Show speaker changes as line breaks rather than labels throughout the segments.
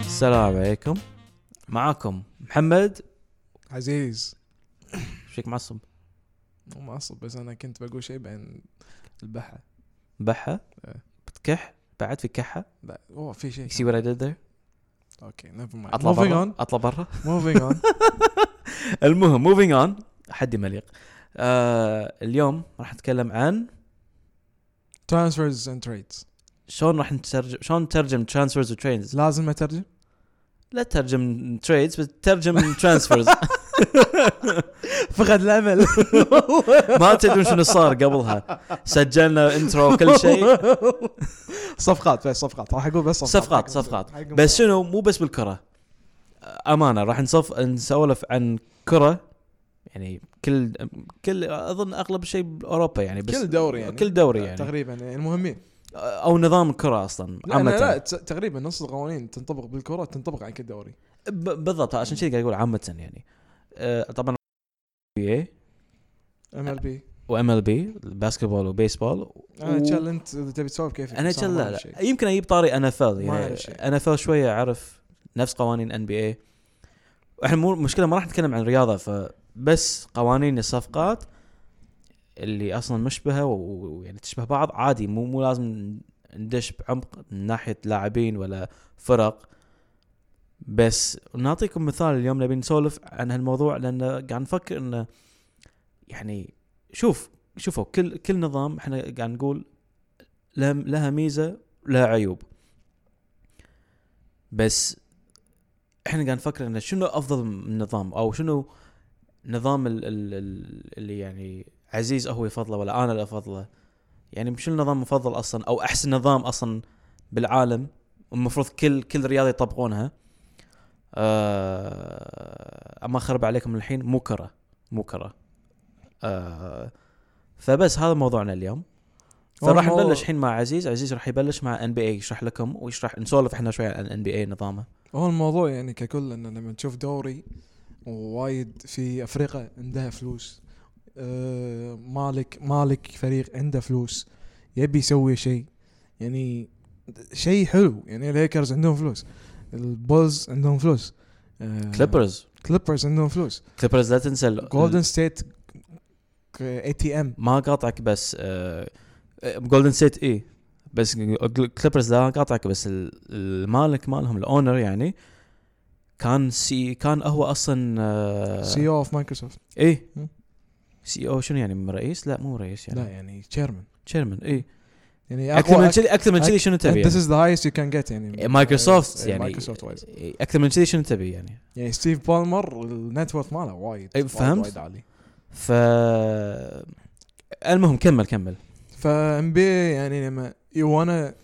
السلام عليكم معاكم محمد
عزيز
شيك معصب
مو معصب بس انا كنت بقول شيء بعدين البحة
بحة
إيه.
بتكح بعد في كحة
لا اوه في شيء
you see what I did there
اوكي نيفر مايند
اطلع
موفينج
برا
اون
اطلع برا
موفينج اون
المهم موفينج اون حدي مليق آه اليوم راح نتكلم عن
ترانسفيرز اند تريدز
شلون راح نترجم شلون نترجم ترانسفيرز وترينز
لازم اترجم
لا تترجم تريدز بس تترجم ترانسفيرز
فقد الامل
ما تدرون شنو صار قبلها سجلنا انترو وكل شيء
صفقات بس صفقات راح اقول بس
صفقات صفقات بس شنو مو بس بالكره امانه راح نصف نسولف عن كره يعني كل كل اظن اغلب شيء باوروبا يعني بس
كل دوري يعني.
كل دوري يعني
تقريبا يعني المهمين
او نظام الكره اصلا
لا
عامه
لا, لا ت- تقريبا نص القوانين تنطبق بالكره تنطبق على كل دوري
ب- بالضبط عشان كذا قاعد اقول عامه يعني أه، آه، طبعا بي
ام ال بي
وام ال بي الباسكتبول وبيسبول
انا تشل انت اذا تبي تسولف كيف
انا جل لا, لا يمكن اجيب طاري ان اف ال
ما
يعني
أعرف شيء.
ان اف ال شويه اعرف نفس قوانين ان بي اي احنا مو المشكله ما راح نتكلم عن رياضه فبس قوانين الصفقات اللي اصلا مشبهه و- ويعني تشبه بعض عادي مو مو لازم ندش بعمق من ناحيه لاعبين ولا فرق بس نعطيكم مثال اليوم نبي نسولف عن هالموضوع لان قاعد نفكر انه يعني شوف شوفوا كل كل نظام احنا قاعد نقول لها لها ميزه لها عيوب بس احنا قاعد نفكر انه شنو افضل من نظام او شنو نظام ال ال ال اللي يعني عزيز هو يفضله ولا انا اللي افضله يعني شنو النظام المفضل اصلا او احسن نظام اصلا بالعالم المفروض كل كل رياضه يطبقونها آه، اما خرب عليكم الحين مو كره مو كره آه، فبس هذا موضوعنا اليوم فراح
والله-
نبلش الحين مع عزيز عزيز راح يبلش مع ان بي اي يشرح لكم ويشرح نسولف احنا شوي عن ان بي اي نظامه
هو الموضوع يعني ككل ان لما تشوف دوري وايد في افريقيا عندها فلوس آه، مالك مالك فريق عنده فلوس يبي يسوي شيء يعني شيء حلو يعني الهيكرز عندهم فلوس البولز عندهم فلوس آه،
كليبرز
كليبرز عندهم فلوس
كليبرز لا تنسى ال-
جولدن ستيت اي تي ام
ما قاطعك بس آه، جولدن ستيت اي إيه. بس كليبرز لا قاطعك بس ال- المالك مالهم الاونر يعني كان سي كان هو اصلا آه،
سي او اوف مايكروسوفت
ايه
مم.
سي او شنو يعني رئيس؟ لا مو رئيس
لا
يعني
يعني تشيرمان
تشيرمان اي
يعني
اكثر من
اقوى
كذي اكثر من كذي شنو تبي
ذيس
يعني؟
از ذا هايست يو كان جيت يعني
مايكروسوفت
آه،
يعني
مايكروسوفت وايز
إيه، اكثر من كذي شنو تبي يعني
يعني ستيف بالمر النت وورث ماله وايد
أي،
وايد-
فهمت؟
وايد عالي
ف المهم كمل كمل
فام بي يعني لما يو وانا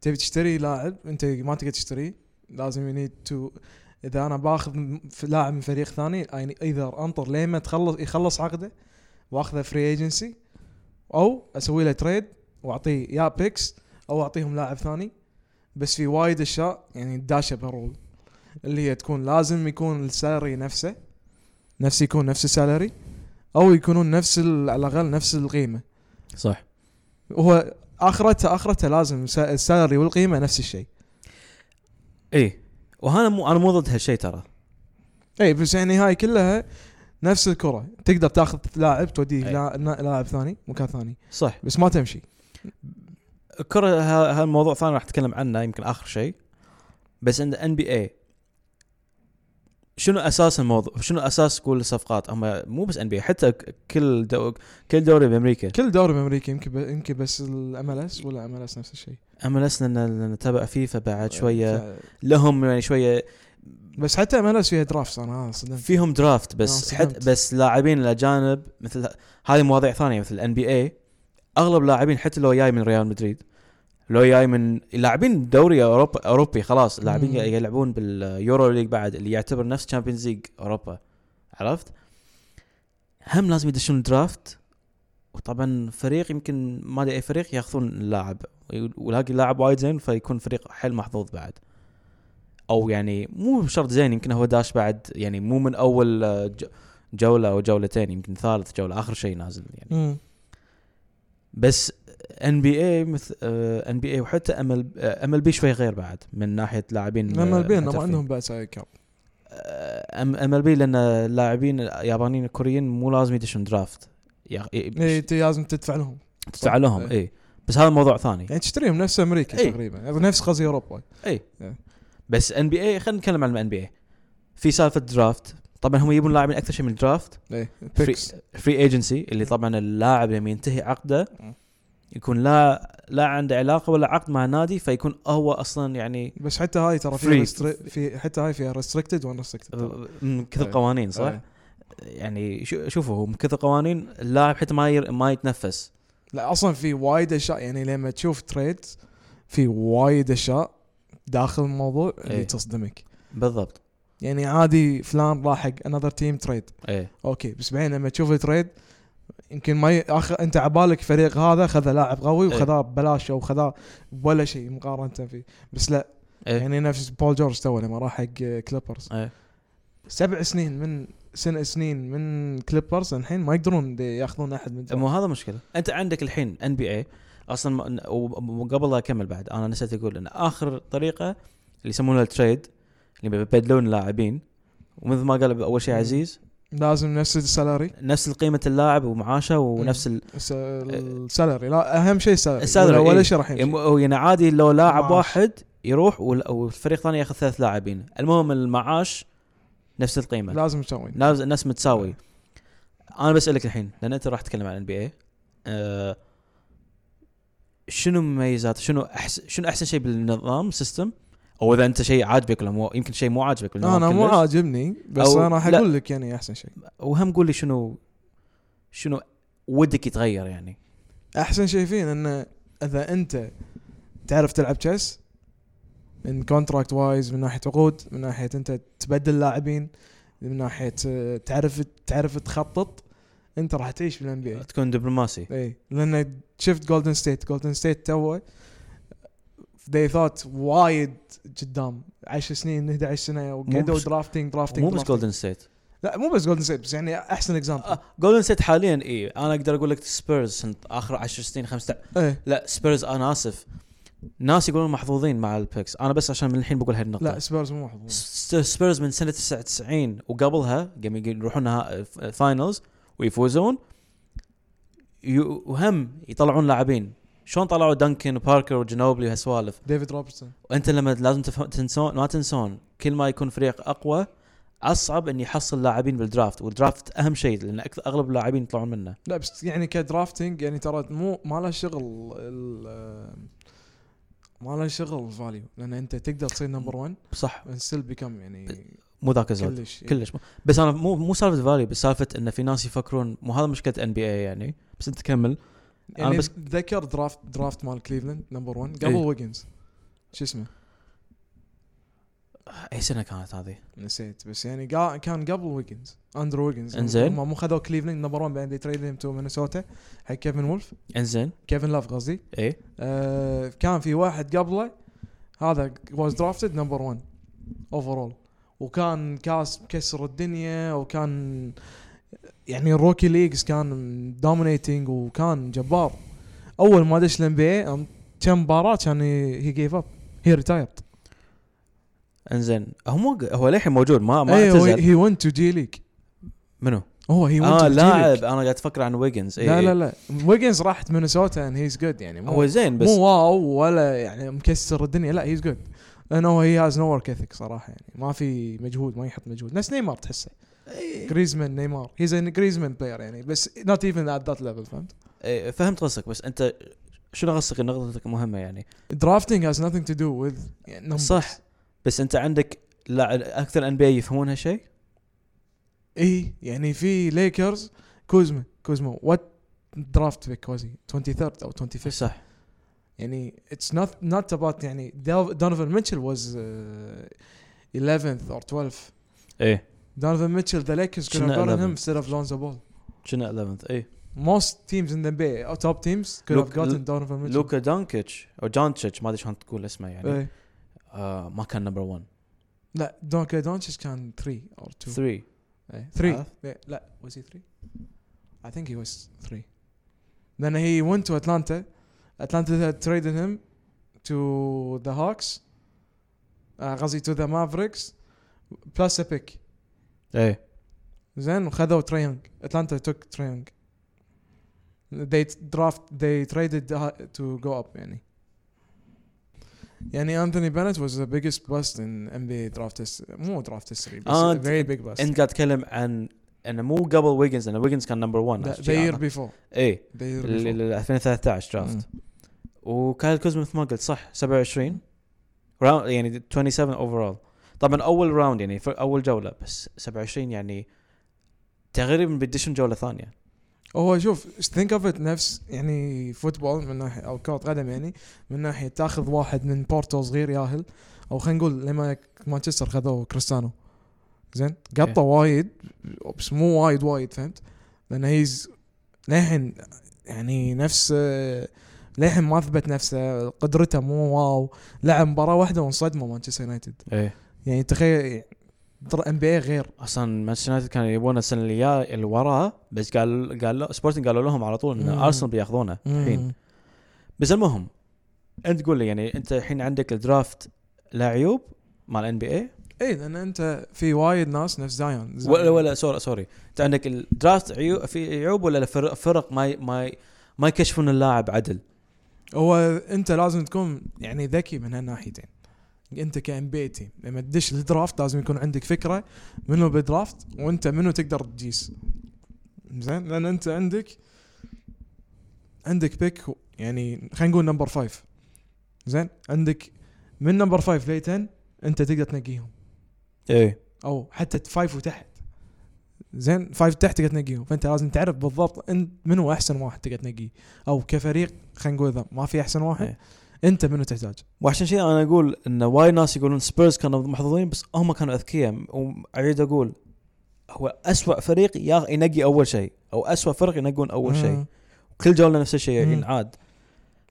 تبي تشتري لاعب انت ما تقدر تشتريه لازم يو نيد تو اذا انا باخذ م- ف- لاعب من فريق ثاني يعني اذا انطر لما تخلص يخلص عقده واخذه فري ايجنسي او اسوي له تريد واعطيه يا بيكس او اعطيهم لاعب ثاني بس في وايد اشياء يعني داشه بالرول اللي هي تكون لازم يكون السالري نفسه نفس يكون نفس السالري او يكونون نفس ال- على الاقل نفس القيمه
صح
هو اخرته اخرته لازم الس- السالري والقيمه نفس الشيء
ايه وهنا مو انا مو ضد هالشيء ترى
اي بس يعني هاي كلها نفس الكره تقدر تاخذ لاعب توديه
أي.
لا- نا- لاعب ثاني مكان ثاني
صح
بس ما تمشي
الكره ه- هالموضوع ثاني راح اتكلم عنه يمكن اخر شيء بس عند ان بي اي شنو اساس الموضوع شنو اساس كل الصفقات اما مو بس ان بي حتى ك- كل دو... كل دوري بامريكا
كل دوري بامريكا يمكن ب... يمكن بس الام ال اس ولا ام ال اس نفس الشيء
اما لسنا نتابع فيفا بعد شويه
ف-
لهم يعني شويه
بس حتى ام ال اس فيها درافت انا صدمت
فيهم درافت
آه،
بس
صدمت.
حت بس لاعبين الاجانب مثل هذه مواضيع ثانيه مثل الان بي اي اغلب لاعبين حتى لو جاي من ريال مدريد لو جاي من لاعبين دوري اوروبا اوروبي خلاص لاعبين
مم.
يلعبون باليورو ليج بعد اللي يعتبر نفس تشامبيونز ليج اوروبا عرفت؟ هم لازم يدشون درافت وطبعا فريق يمكن ما ادري اي فريق ياخذون اللاعب ولاقي لاعب وايد زين فيكون فريق حيل محظوظ بعد او يعني مو بشرط زين يمكن هو داش بعد يعني مو من اول آه، ج- جوله او جولتين يمكن ثالث جوله اخر شيء نازل يعني
مم.
بس ان بي اي مثل ان بي اي وحتى آه، ام ال ام ال بي شوي غير بعد من ناحيه لاعبين آه،
لما البين ما عندهم بعد سايد كاب
ام ال بي لان اللاعبين اليابانيين الكوريين مو لازم يدشون درافت يا-
إيه،
ي-
أنت لازم تدفع لهم
تدفع لهم
إيه.
اي بس هذا موضوع ثاني
يعني تشتريهم نفس امريكا
إيه.
تقريبا نفس قصدي اوروبا
بس ان بي اي خلينا نتكلم عن الان بي اي في سالفه درافت طبعا هم يجيبون لاعبين اكثر شيء من الدرافت
ايه
فري
بيكس
فري ايجنسي اللي طبعا اللاعب لما ينتهي عقده
مم.
يكون لا لا عنده علاقه ولا عقد مع نادي فيكون هو اصلا يعني
بس حتى هاي ترى
Free.
في restrict- في حتى هاي فيها ريستريكتد وان ريستريكتد
من كثر
أي.
قوانين صح؟ يعني شو- شوفوا هو من كثر قوانين اللاعب حتى ما ير... ما يتنفس
لا اصلا في وايد اشياء يعني لما تشوف تريد في وايد اشياء داخل الموضوع اللي
إيه.
تصدمك
بالضبط
يعني عادي فلان راح حق انذر تيم تريد
ايه
اوكي بس بعدين لما تشوف تريد يمكن ما ي... أخ... انت عبالك فريق هذا خذ لاعب قوي
إيه.
وخذاه ببلاش او خذاه ولا شيء مقارنه فيه بس لا
إيه.
يعني نفس بول جورج تو لما راح حق كليبرز
إيه.
سبع سنين من سن سنين من كليبرز الحين ما يقدرون ياخذون احد من الدوري.
مو هذا مشكله انت عندك الحين ان بي اي اصلا ما- و- وقبل لا اكمل بعد انا نسيت اقول ان اخر طريقه اللي يسمونها التريد اللي بيبدلون لاعبين ومثل ما قال اول شيء
مم.
عزيز
لازم نفس السالري
نفس قيمه اللاعب ومعاشه ونفس ال...
الس- السالري لا اهم شيء السالري
السالري،
ولا, ولا
إيه.
شيء راح يمشي
يم- هو يعني عادي لو لاعب
معاش.
واحد يروح وال- والفريق الثاني ياخذ ثلاث لاعبين المهم المعاش نفس القيمه
لازم تسوي
ناس الناس متساوي
آه.
انا بسالك الحين لان انت راح تتكلم عن ان بي اي آه، شنو مميزات شنو احسن شنو احسن شيء بالنظام سيستم او اذا انت شيء عاجبك ولا مو يمكن شيء مو عاجبك بالنظام
انا مو
نعم، كلش.
عاجبني بس
أو-
انا راح
لا.
اقول لك يعني احسن شيء
وهم قول لي شنو شنو ودك يتغير يعني
احسن شيء فيه انه اذا انت تعرف تلعب تشيس من كونتراكت وايز من ناحيه عقود من ناحيه انت تبدل لاعبين من ناحيه آه، تعرف تعرف تخطط انت راح تعيش بالان بي
تكون دبلوماسي
اي لان إيه. شفت جولدن ستيت جولدن ستيت تو they thought وايد قدام 10 سنين 11 سنه وقعدوا
بس-
درافتنج درافتنج
مو بس آه. جولدن ستيت
لا مو بس جولدن ستيت بس يعني احسن اكزامبل
جولدن ستيت حاليا اي انا اقدر اقول لك سبيرز اخر 10 سنين 15
ايه
لا سبيرز انا اسف ناس يقولون محظوظين مع البيكس انا بس عشان من الحين بقول هالنقطه
لا سبيرز مو محظوظ
س- سبيرز من سنه 99 وقبلها قام يق- يروحون نها- ف- فاينلز ويفوزون ي- وهم يطلعون لاعبين شلون طلعوا دنكن وباركر وجنوبلي وهالسوالف
ديفيد روبرتسون
وانت لما لازم تفهم تنسون ما تنسون كل ما يكون فريق اقوى اصعب ان يحصل لاعبين بالدرافت والدرافت اهم شيء لان أكث- اغلب اللاعبين يطلعون منه
لا بس يعني كدرافتنج يعني ترى مو ما له شغل ال- ما له شغل فاليو لان انت تقدر تصير نمبر 1
صح
ستيل بيكم يعني
مو ذاك الزود
كلش
كلش مو. بس انا مو مو سالفه فاليو بس سالفه ان في ناس يفكرون مو هذا مشكله ان بي اي يعني بس انت كمل
يعني
أنا بس-
ذكر درافت درافت مال كليفلاند نمبر 1 قبل
إيه.
ويجنز شو اسمه
اي سنه كانت هذه
نسيت بس يعني قا- كان قبل ويجنز اندرو ويجنز
إنزين.
يعني هم مو خذوا كليفلاند نمبر 1 بعدين تريدهم تو مينيسوتا حق كيفن وولف
انزين
كيفن لاف قصدي
ايه
آه كان في واحد قبله هذا واز درافتد نمبر 1 اوفرول وكان كاس مكسر الدنيا وكان يعني الروكي ليجز كان دومينيتنج وكان جبار اول ما دش الام بي كم مباراه كان هي جيف اب هي ريتايرد
انزين هو مو هو للحين موجود ما آه، ما
ايوه
اعتزل
هي ونت تو جي ليج
منو؟
هو هي ونت
اه
تو جي
لاعب
ليج
انا قاعد افكر عن ويجنز
لا لا لا ويجنز راحت مينيسوتا ان هيز جود يعني مو
إيه. هو زين بس
مو واو ولا يعني مكسر الدنيا لا هيز جود لانه هي هاز نو ورك اثيك صراحه يعني ما في مجهود ما يحط مجهود نفس نيمار تحسه
إيه.
جريزمان نيمار هيز ان جريزمان بلاير يعني بس نوت ايفن ات ذات ليفل فهمت
إيه، فهمت قصدك بس انت شنو قصدك إن نقطتك مهمه يعني
درافتنج هاز nothing تو دو وذ
صح. بس انت عندك لا اكثر ان بي يفهمون هالشيء
اي يعني في ليكرز كوزما كوزما وات درافت بيك وزي 23 او 25
صح
يعني اتس نوت نوت اباوت يعني دونيفن ميتشل واز 11th uh, or 12th
ايه
إيه. Donovan Mitchell, the Lakers could
شنو
have
11th?
gotten him instead of Lonzo Ball.
شنو 11 ايه
Most teams in the NBA, or uh, top teams, could
Luke-
have gotten
Lu-
Donovan Mitchell. Eh,
لوكا دانكيتش او جانتشيتش ما ادري شلون تقول اسمه يعني
إيه.
آه ما كان نمبر 1
لا دونكا دونتش كان 3 or Eh, 2
3
إيه. 3
عرفت؟
إيه. لا was he 3 I think he was 3 لأن he went to Atlanta اتلانتا تريدد هيم تو ذا هوكس قصدي تو ذا مافريكس بلس بيك إيه.
ايه
زين وخذوا تريونج اتلانتا توك تريونج they draft they traded uh, to go up يعني يعني انثوني بنت was the biggest bust in NBA draft history مو draft history بس
آه،
a very big bust
انت قاعد تتكلم عن انه مو قبل ويجنز لان ويجنز كان نمبر 1
لا، the year آه. before
ايه
the year
ال-
before
ال- 2013 درافت وكايل كوزما مثل ما قلت صح 27 راوند يعني 27 اوفرول طبعا اول راوند يعني ف- اول جوله بس 27 يعني تقريبا بيدشون جوله ثانيه
هو شوف think of it نفس يعني فوتبول من ناحيه او كره قدم يعني من ناحيه تاخذ واحد من بورتو صغير ياهل او خلينا نقول لما مانشستر خذوه كريستيانو زين قطه وايد بس مو وايد وايد فهمت لان هيز للحين يعني نفس للحين ما اثبت نفسه قدرته مو واو لعب مباراه واحده وانصدموا مانشستر يونايتد
ايه
يعني تخيل ام بي غير
اصلا مانشستر يونايتد كانوا يبون السنه اللي جايه اللي وراها بس قال قال سبورتنج قالوا لهم على طول ان
مم.
ارسنال بياخذونه الحين بس المهم انت قول لي يعني انت الحين عندك الدرافت لا عيوب مع الان بي اي
اي لان انت إيه، في وايد ناس نفس زايون
ولا ولا سوري سوري انت عندك الدرافت عيوب في عيوب ولا الفرق فرق ما ي- ما ي- ما يكشفون اللاعب عدل
هو انت لازم تكون يعني ذكي من هالناحيتين انت كان بيتي لما تدش الدرافت لازم يكون عندك فكره منو بالدرافت وانت منو تقدر تجيس زين لان انت عندك عندك بيك و- يعني خلينا نقول نمبر فايف زين عندك من نمبر فايف لي 10 انت تقدر تنقيهم
ايه
او حتى فايف وتحت زين فايف تحت تقدر تنقيهم فانت لازم تعرف بالضبط انت من هو احسن واحد تقدر تنقيه او كفريق خلينا نقول اذا ما في احسن واحد
إيه.
انت منو تحتاج
وعشان شيء انا اقول ان وايد ناس يقولون سبيرز كانوا محظوظين بس هم كانوا اذكياء واعيد اقول هو أسوأ فريق يا- ينقي اول شيء او أسوأ فرق ينقون اول شيء
آه.
كل جوله نفس الشيء
مم.
ينعاد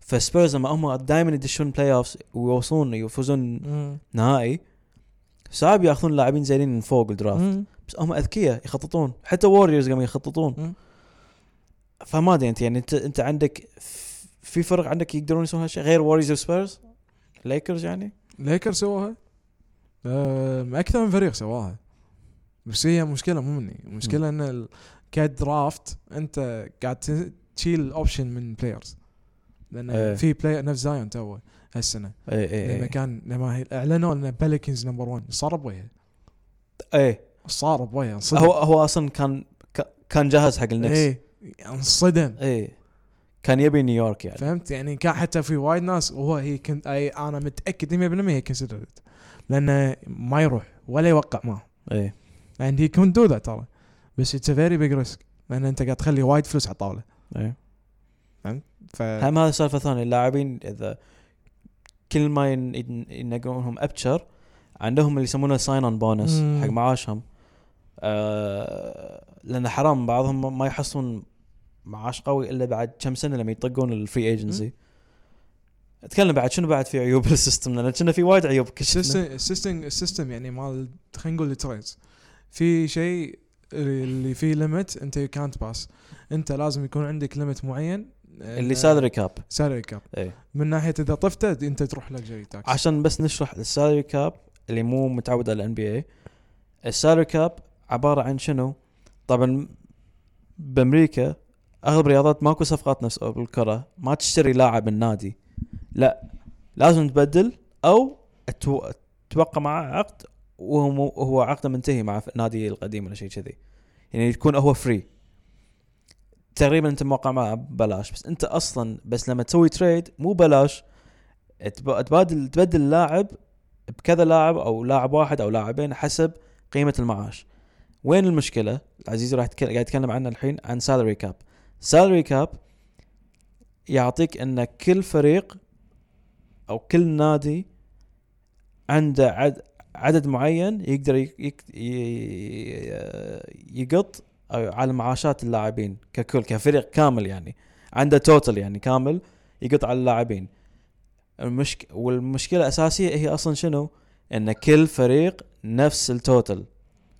فسبيرز لما هم دائما يدشون بلاي اوفز ويوصلون يفوزون
مم.
نهائي صعب ياخذون لاعبين زينين من فوق الدرافت
مم.
بس هم اذكياء يخططون حتى ووريرز قاموا يخططون
مم.
فما ادري انت يعني انت انت عندك ف- في فرق عندك يقدرون يسوون هالشيء غير ووريرز وسبيرز ليكرز يعني
ليكر سواها آم، اكثر من فريق سواها بس هي مشكله مو مني المشكله ان ال- كدرافت انت قاعد ت- تشيل اوبشن من بلايرز لان
إيه.
في بلاير نفس زايون توه هالسنه
اي اي
لما
اي
كان لما هي- اعلنوا ان بلكنز نمبر 1 صار بوجهه
ايه
صار بوجهه انصدم
هو هو اصلا كان ك- كان جاهز حق النكس ايه,
ايه انصدم
إيه. كان يبي نيويورك يعني
فهمت يعني كان حتى في وايد ناس وهو هي كنت أي انا متاكد 100% هي كونسيدرد لانه ما يروح ولا يوقع معه
ايه
and he couldn't do that ترى بس اتس فيري بيج ريسك لان انت قاعد تخلي وايد فلوس على الطاوله
ايه
ف
هم هذا سالفه ثانيه اللاعبين اذا كل ما ين- ين- ينقونهم ابشر عندهم اللي يسمونه ساين اون بونس
مم.
حق معاشهم آه لان حرام بعضهم ما يحصلون معاش قوي الا بعد كم سنه لما يطقون الفري ايجنسي اتكلم بعد شنو بعد في عيوب السيستم لان كنا في وايد عيوب كشفنا
السيستم السيستم يعني مال خلينا نقول التريدز في شيء اللي فيه ليمت انت كانت باس انت لازم يكون عندك ليمت معين
اللي سالري كاب
سالري كاب
إيه.
من ناحيه اذا طفته انت تروح لكجري تاكس
عشان بس نشرح السالري كاب اللي مو متعود على الان بي اي السالري كاب عباره عن شنو؟ طبعا بامريكا اغلب الرياضات ماكو صفقات نفس بالكره ما تشتري لاعب من نادي لا لازم تبدل او أتو... توقع معه عقد وهو مو... هو عقده منتهي مع النادي القديم ولا شيء كذي يعني يكون هو فري تقريبا انت موقع معه ببلاش بس انت اصلا بس لما تسوي تريد مو بلاش تب- تبادل تبدل اللاعب بكذا لاعب او لاعب واحد او لاعبين حسب قيمه المعاش وين المشكله العزيز راح يتك- قاعد يتكلم عنه الحين عن سالري كاب سالري كاب يعطيك ان كل فريق او كل نادي عنده عد عدد معين يقدر يك- يك- ي- يقط أو على معاشات اللاعبين ككل كفريق كامل يعني عنده توتال يعني كامل يقط على اللاعبين المشك... والمشكله الاساسيه هي اصلا شنو؟ ان كل فريق نفس التوتل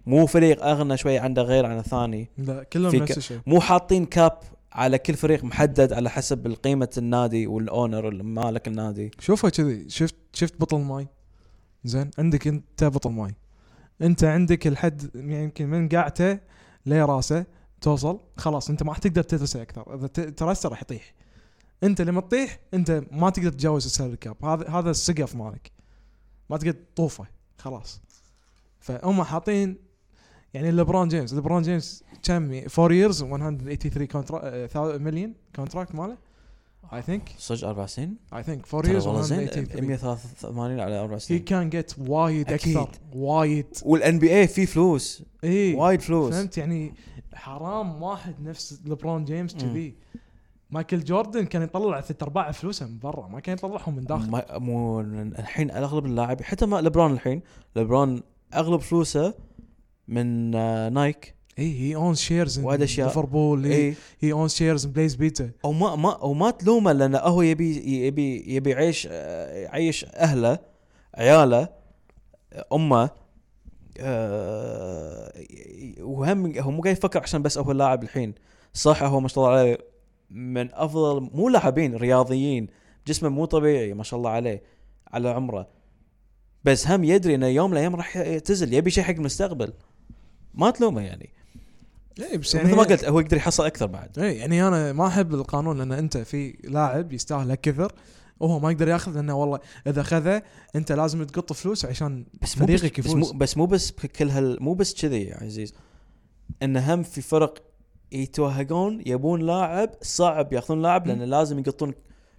مو فريق اغنى شوي عنده غير عن الثاني
لا كلهم
في
نفس
ك-
الشيء
مو حاطين كاب على كل فريق محدد على حسب قيمه النادي والاونر اللي مالك النادي
شوفها كذي شفت شفت بطل ماي زين عندك انت بطل ماي انت عندك الحد يعني يمكن من قاعته لراسه توصل خلاص انت ما راح تقدر تترسه اكثر اذا ت- ترسه راح يطيح انت لما تطيح انت ما تقدر تتجاوز السالري كاب هذا هذا السقف مالك ما تقدر تطوفه خلاص فهم حاطين يعني لبرون جيمس لبرون جيمس كم 4 ييرز 183 كونترا مليون كونتراكت ماله اي ثينك
صج اربع سنين
اي ثينك 4
ترى
ييرز
والله زين
183
183 على اربع
هي
سنين
كان جيت وايد
أكيد.
اكثر وايد
والان بي اي فيه فلوس
اي
وايد فلوس
إيه، فهمت يعني حرام واحد نفس لبرون جيمس
مم.
كذي مايكل جوردن كان يطلع ثلاث ارباع فلوسه من برا ما كان يطلعهم من داخل
ما مو الحين اغلب اللاعب حتى ما لبرون الحين لبرون اغلب فلوسه من آه، إيه. نايك
اي هي اون شيرز
وايد أشياء.
ليفربول هي
اي
اون شيرز بلايز بيتا
او ما ما او ما تلومه لانه هو يبي يبي يبي يعيش آه، يعيش اهله عياله آه، امه آه، ي- وهم هو مو قاعد يفكر عشان بس هو لاعب الحين صح هو ما شاء الله عليه من افضل مو لاعبين رياضيين جسمه مو طبيعي ما شاء الله عليه على عمره بس هم يدري انه يوم من الايام راح يعتزل يبي شيء حق المستقبل ما تلومه يعني,
اي بس
إيه،
يعني
مثل ما قلت هو يقدر يحصل اكثر بعد
اي إيه، يعني انا ما احب القانون لان انت في لاعب يستاهل هالكثر وهو ما يقدر ياخذ لانه والله اذا خذه انت لازم تقط فلوس عشان
بس مو بس,
فريقك
بس
يفوز
مو بس مو بس كل هال مو بس كذي يا عزيز ان هم في فرق يتوهقون يبون لاعب صعب ياخذون لاعب لان لازم يقطون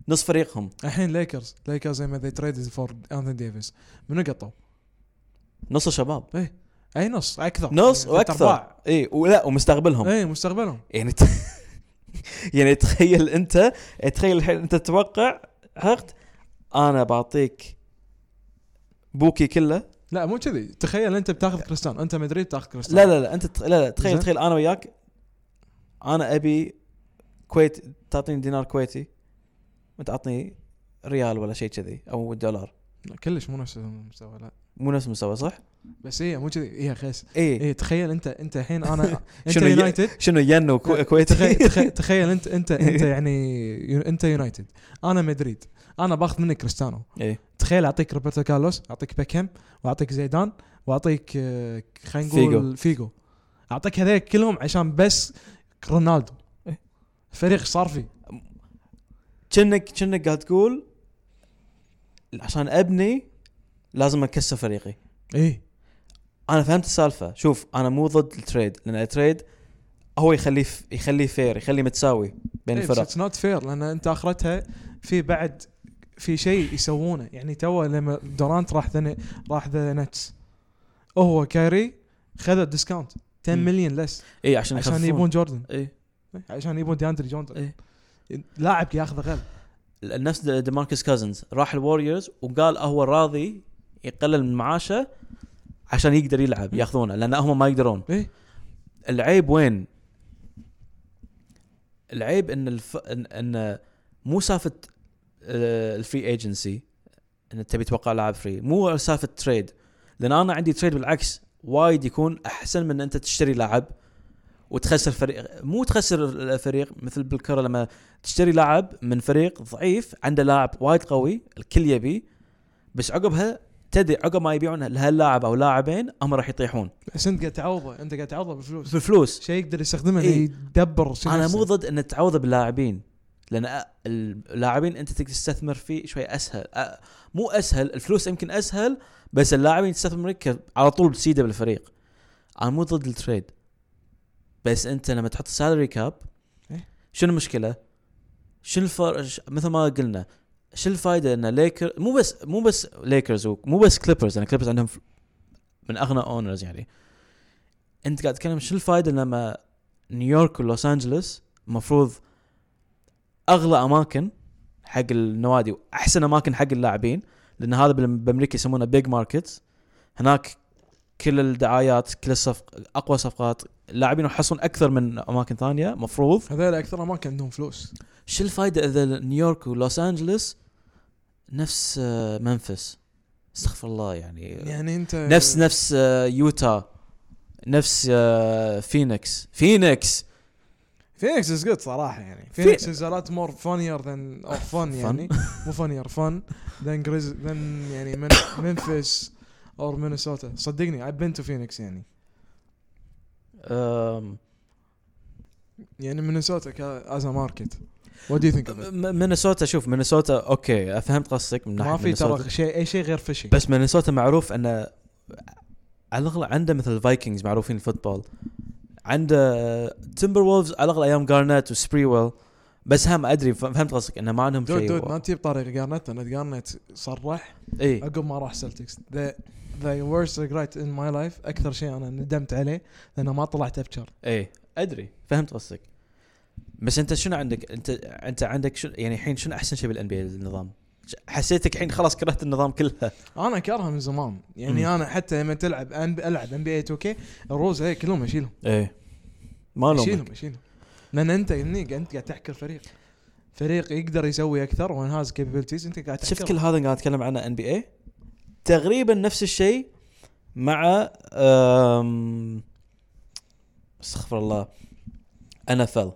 نص فريقهم
الحين ليكرز ليكرز لما ذي تريدد فور انثوني ديفيس منو قطوا؟
نص الشباب
اي نص اكثر
نص
يعني إيه. ثلاث
واكثر
أرباع.
اي ولا ومستقبلهم
اي مستقبلهم
يعني ت... يعني تخيل انت تخيل الحين انت تتوقع عقد انا بعطيك بوكي كله
لا مو كذي تخيل انت بتاخذ كريستيانو انت مدريد تاخذ كريستيانو
لا لا لا انت تخ- لا لا تخيل
زين.
تخيل انا وياك انا ابي كويت تعطيني دينار كويتي وانت تعطني ريال ولا شيء كذي او دولار
لا كلش مو نفس المستوى لا
مو نفس المستوى صح؟
بس هي مو كذي هي خيس
اي
هي تخيل انت انت الحين انا انت
شنو ي-
يونايتد
شنو ين
لا،
وكويتي
تخيل, تخيل, تخيل انت انت انت يعني يو- انت يونايتد انا مدريد انا باخذ منك كريستيانو
اي
تخيل اعطيك روبرتو كارلوس اعطيك بيكهام واعطيك زيدان واعطيك آه، خلينا
فيجو.
نقول فيجو اعطيك هذول كلهم عشان بس رونالدو
إيه.
فريق صرفي
كأنك كأنك قاعد تقول عشان ابني لازم اكسر فريقي
ايه
انا فهمت السالفه شوف انا مو ضد التريد لان التريد هو يخليه يخليه فير يخليه متساوي بين الفرق
اتس نوت فير لان انت اخرتها في بعد في شيء يسوونه يعني تو لما دورانت راح ذن راح ذا نتس هو كاري خذ الديسكاونت 10
مم.
مليون لس
اي إيه، عشان إيه.
عشان
يخففون.
يبون جوردن إيه،
اي
عشان يبون دياندري جوردن
إيه.
لاعب ياخذ غل
نفس د- ديماركس كازنز راح الوريورز وقال هو راضي يقلل من معاشه عشان يقدر يلعب
مم.
ياخذونه لان هم ما يقدرون
إيه.
العيب وين؟ العيب ان الف... ان, إن مو سالفه آه، الفري ايجنسي ان تبي توقع لاعب فري مو سالفه تريد لان انا عندي تريد بالعكس وايد يكون احسن من ان انت تشتري لاعب وتخسر فريق مو تخسر الفريق مثل بالكره لما تشتري لاعب من فريق ضعيف عنده لاعب وايد قوي الكل يبي بس عقبها تدري عقب ما يبيعون هاللاعب او لاعبين هم راح يطيحون
بس انت قاعد تعوضه انت قاعد تعوضه بفلوس
بالفلوس
شيء يقدر يستخدمه
إيه.
إيه؟ يدبر شيء
انا
نفسه.
مو ضد ان تعوضه باللاعبين لان أ- اللاعبين انت تقدر تستثمر فيه شوي اسهل أ- مو اسهل الفلوس يمكن اسهل بس اللاعبين تستثمر على طول بتسيده بالفريق انا مو ضد التريد بس انت لما تحط سالري كاب
إيه.
شنو المشكله؟ شنو الفرق ش- مثل ما قلنا شو الفائده ان ليكر مو بس مو بس ليكرز مو بس كليبرز لان كليبرز عندهم ف- من اغنى اونرز يعني انت قاعد تتكلم شو الفائده لما نيويورك ولوس انجلوس المفروض اغلى اماكن حق النوادي واحسن اماكن حق اللاعبين لان هذا بالم- بامريكا يسمونه بيج ماركت هناك كل الدعايات كل الصفق اقوى صفقات اللاعبين راح يحصلون اكثر من اماكن ثانيه مفروض
هذول اكثر اماكن عندهم فلوس
شو الفائده اذا نيويورك ولوس انجلوس نفس آه، منفس استغفر الله يعني,
يعني انت
نفس نفس آه، يوتا نفس آه، فينيكس فينيكس
فينيكس از جود صراحه يعني فينيكس از لوت مور فانير ذان او فن يعني مو فانير فن ذان جريز ذان يعني من منفس اور مينيسوتا صدقني اي بين تو فينيكس يعني
أم،
يعني مينيسوتا از ماركت وات دو يو ثينك
م- مينيسوتا شوف مينيسوتا اوكي فهمت قصدك من ناحيه
ما في
مينيسوتا.
ترى شيء اي شيء غير فشي
بس مينيسوتا معروف انه على الاغلب عنده مثل الفايكنجز معروفين الفوتبول عنده تمبر وولفز على الاغلب ايام جارنت وسبريويل بس هم ادري ف- فهمت قصدك انه ما عندهم
دود
شيء
دود ما تجيب طاري جارنت انا جارنت صرح
اي
عقب ما راح سلتكس ذا ذا ورست ريجريت ان ماي لايف اكثر شيء انا ندمت عليه لانه ما طلعت ابشر
ايه ادري فهمت قصدك بس انت شنو عندك انت انت عندك شنو يعني الحين شنو احسن شيء بالان بي النظام ش- حسيتك الحين خلاص كرهت النظام كلها
انا كارها من زمان يعني
مم.
انا حتى لما تلعب أن العب ام بي اي 2 كي الروز هي كلهم اشيلهم
ايه ما
اشيلهم
لومك
اشيلهم لان انت هني انت قاعد تحكر فريق فريق يقدر يسوي اكثر وان هاز كابابيلتيز انت قاعد تحكر
شفت كل هذا اللي قاعد اتكلم عنه ان بي اي تقريبا نفس الشيء مع أم، استغفر الله ان اف ال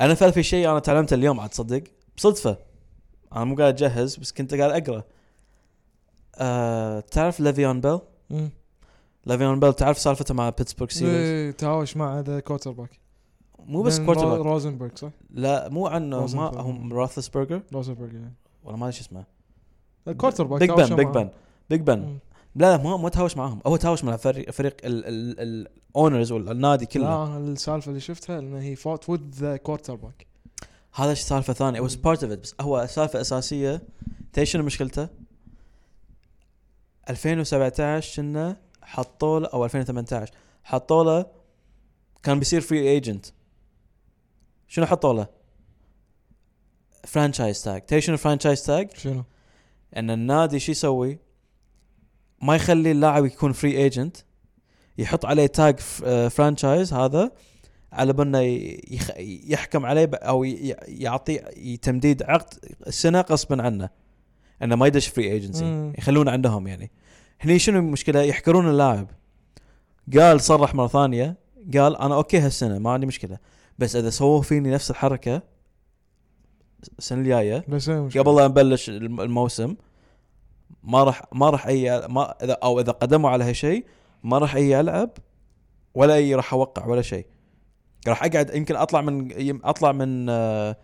ان اف ال في شيء انا تعلمته اليوم عاد تصدق بصدفه انا مو قاعد اجهز بس كنت قاعد اقرا أه تعرف ليفيون بيل
مم.
لافيون بيل تعرف سالفته مع بيتسبورغ سيلز
إيه، تهاوش مع ذا كوتر باك
مو بس كوارتر باك
روزنبرغ صح؟
لا مو عنه ما
روزنفيلد.
هم راثسبرجر
روزنبرغ
ولا ما ادري شو اسمه
الكوتر باك
بيج بن بيج بن بيج بن لا لا ما ما تهاوش معاهم هو تهاوش مع فريق فريق الاونرز والنادي كله
لا السالفه اللي شفتها ان هي فوت وذ ذا كوارتر باك
هذا شي سالفه ثانيه واز
مم.
بارت اوف بس هو سالفه اساسيه تدري شنو مشكلته؟ 2017 كنا حطوا له او 2018 حطوا له كان بيصير فري ايجنت شنو حطوا له؟ فرانشايز تاج تدري شنو فرانشايز تاج؟
شنو؟
ان النادي شو يسوي؟ ما يخلي اللاعب يكون فري ايجنت يحط عليه تاج فرانشايز هذا على بنا يخ... يحكم عليه ب- او ي- يعطي تمديد عقد سنه غصبا عنه انه ما يدش فري ايجنسي
مم.
يخلونه عندهم يعني هني شنو المشكله يحكرون اللاعب قال صرح مره ثانيه قال انا اوكي هالسنه ما عندي مشكله بس اذا سووا فيني نفس الحركه السنه الجايه
بس هي مشكلة.
قبل لا نبلش الم- الموسم ما راح ما راح اي ما اذا او اذا قدموا على هالشيء ما راح اي العب ولا اي راح اوقع ولا شيء راح اقعد يمكن اطلع من يم- اطلع من آه،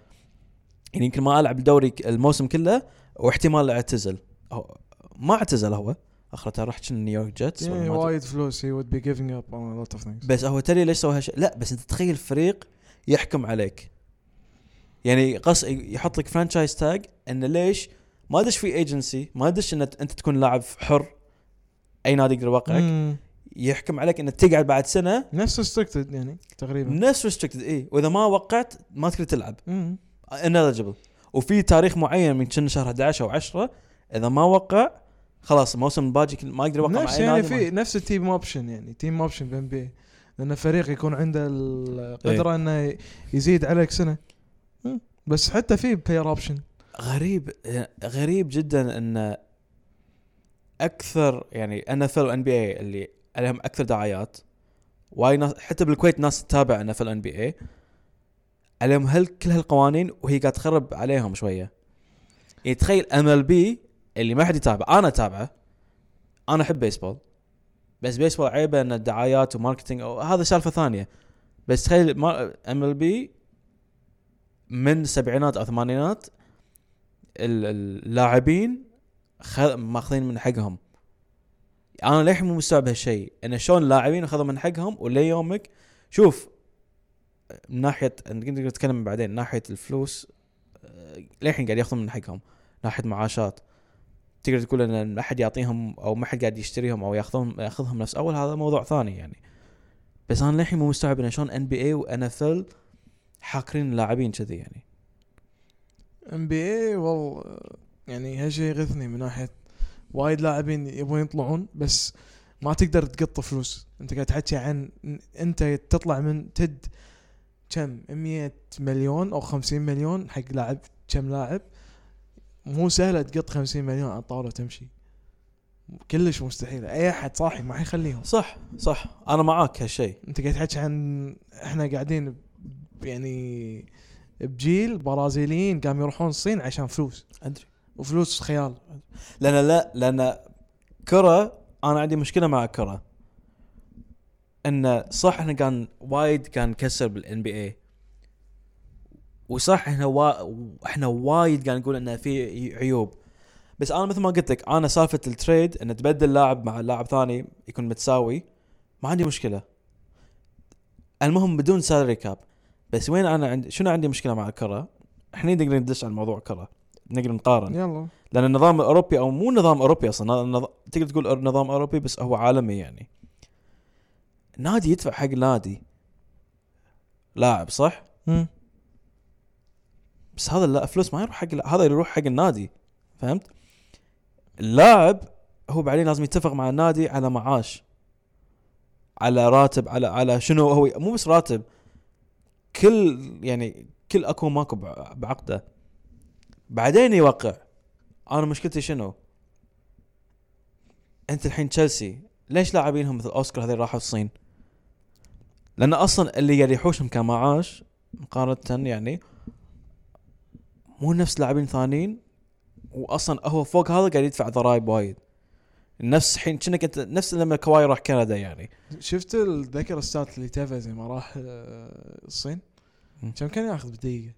يعني يمكن ما العب الدوري ك- الموسم كله واحتمال اعتزل أو ما اعتزل هو اخرته راح كن نيويورك جيتس ولا
يعني
ما أدري.
وايد فلوس هي would be giving up on a lot of things
بس هو تري ليش سوى هالشيء لا بس انت تخيل فريق يحكم عليك يعني قص يحط لك فرانشايز تاج انه ليش ما ادش في ايجنسي ما ادش ان انت تكون لاعب حر اي نادي يقدر يوقعك
مم.
يحكم عليك انك تقعد بعد سنه
نفس restricted يعني تقريبا
نفس ريستريكتد اي واذا ما وقعت ما تقدر تلعب
مم.
اناليجبل وفي تاريخ معين من كنا شهر 11 او 10 اذا ما وقع خلاص الموسم الباجي كل- ما يقدر يوقع مع
نفس
اي
يعني
نادي ما-
في نفس التيم اوبشن يعني تيم اوبشن بين بي لان فريق يكون عنده
إيه.
القدره انه يزيد عليك سنه مم. بس حتى في بلاير اوبشن
غريب غريب جدا ان اكثر يعني ان اف ال وان بي اي اللي عليهم اكثر دعايات واي ناس حتى بالكويت ناس تتابع ان اف ال وان بي اي عليهم هل كل هالقوانين وهي قاعد تخرب عليهم شويه يعني تخيل ام ال بي اللي ما حد يتابع انا اتابعه انا احب بيسبول بس بيسبول عيبه ان الدعايات وماركتينج أو هذا سالفه ثانيه بس تخيل ام ال بي من السبعينات او الثمانينات ال- ال- اللاعبين خل... ماخذين من حقهم انا للحين مو مستوعب هالشيء انه شلون اللاعبين اخذوا من حقهم وليومك شوف من ناحيه نقدر نتكلم بعدين من ناحيه الفلوس آه، للحين قاعد ياخذون من حقهم ناحيه معاشات تقدر تقول ان ما حد يعطيهم او ما حد قاعد يشتريهم او ياخذهم ياخذهم نفس اول هذا موضوع ثاني يعني بس انا للحين مو مستوعب ان شلون ان بي اي وان اف ال حاقرين اللاعبين كذي يعني
ام بي اي والله يعني هالشيء يغثني من ناحيه وايد لاعبين يبون يطلعون بس ما تقدر تقط فلوس انت قاعد تحكي عن إن- انت تطلع من تد كم 100 مليون او 50 مليون حق لاعب كم لاعب مو سهله تقط 50 مليون على الطاوله تمشي كلش مستحيل اي احد صاحي ما حيخليهم
صح صح انا معاك هالشيء
انت قاعد تحكي عن احنا قاعدين يعني بجيل برازيليين قاموا يروحون الصين عشان فلوس
ادري
وفلوس خيال
لان لا لان كره انا عندي مشكله مع كره انه صح انه كان وايد كان كسر بالان بي اي وصح احنا وا... احنا وايد قاعد نقول انه في عيوب بس انا مثل ما قلت لك انا سالفه التريد ان تبدل لاعب مع لاعب ثاني يكون متساوي ما عندي مشكله المهم بدون سالري كاب بس وين انا عندي شنو عندي مشكله مع الكره احنا نقدر ندش على موضوع الكره نقدر نقارن
يلا
لان النظام الاوروبي او مو نظام اوروبي اصلا نظ... تقدر تقول نظام اوروبي بس هو عالمي يعني نادي يدفع حق نادي لاعب صح بس هذا لا فلوس ما يروح حق لا- هذا يروح حق النادي فهمت اللاعب هو بعدين لازم يتفق مع النادي على معاش على راتب على على شنو هو مو بس راتب كل يعني كل اكو ماكو بع- بعقده بعدين يوقع انا مشكلتي شنو انت الحين تشيلسي ليش لاعبينهم مثل اوسكار هذول راحوا الصين لان اصلا اللي قاعد يحوشهم كمعاش مقارنه يعني مو نفس لاعبين ثانيين واصلا هو فوق هذا قاعد يدفع ضرائب وايد نفس حين كأنك انت نفس لما كواي راح كندا يعني
شفت ال- ذكر الستات اللي تيفز لما راح آه، الصين
مم.
كم كان ياخذ بالدقيقه؟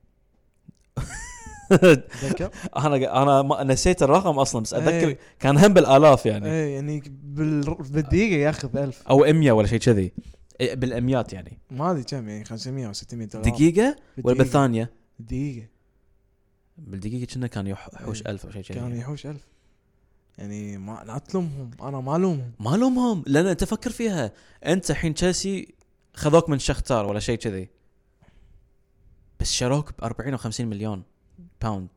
تذكر؟
انا انا ما نسيت الرقم اصلا بس
إيه.
اتذكر كان هم بالالاف يعني
ايه يعني بال- بالدقيقه ياخذ 1000
او 100 ولا شيء كذي إيه، بالاميات يعني
ما ادري كم يعني 500 او 600 دولار
دقيقه ولا
بالدقيقة.
بالثانيه
دقيقه
بالدقيقه كنا كان يحوش
إيه.
ألف او شيء
كان
كذي
يحوش 1000 يعني ما لا تلومهم انا ما الومهم
ما لومهم لان انت فكر فيها انت الحين تشيلسي خذوك من شختار ولا شيء كذي بس شروك ب 40 او 50 مليون باوند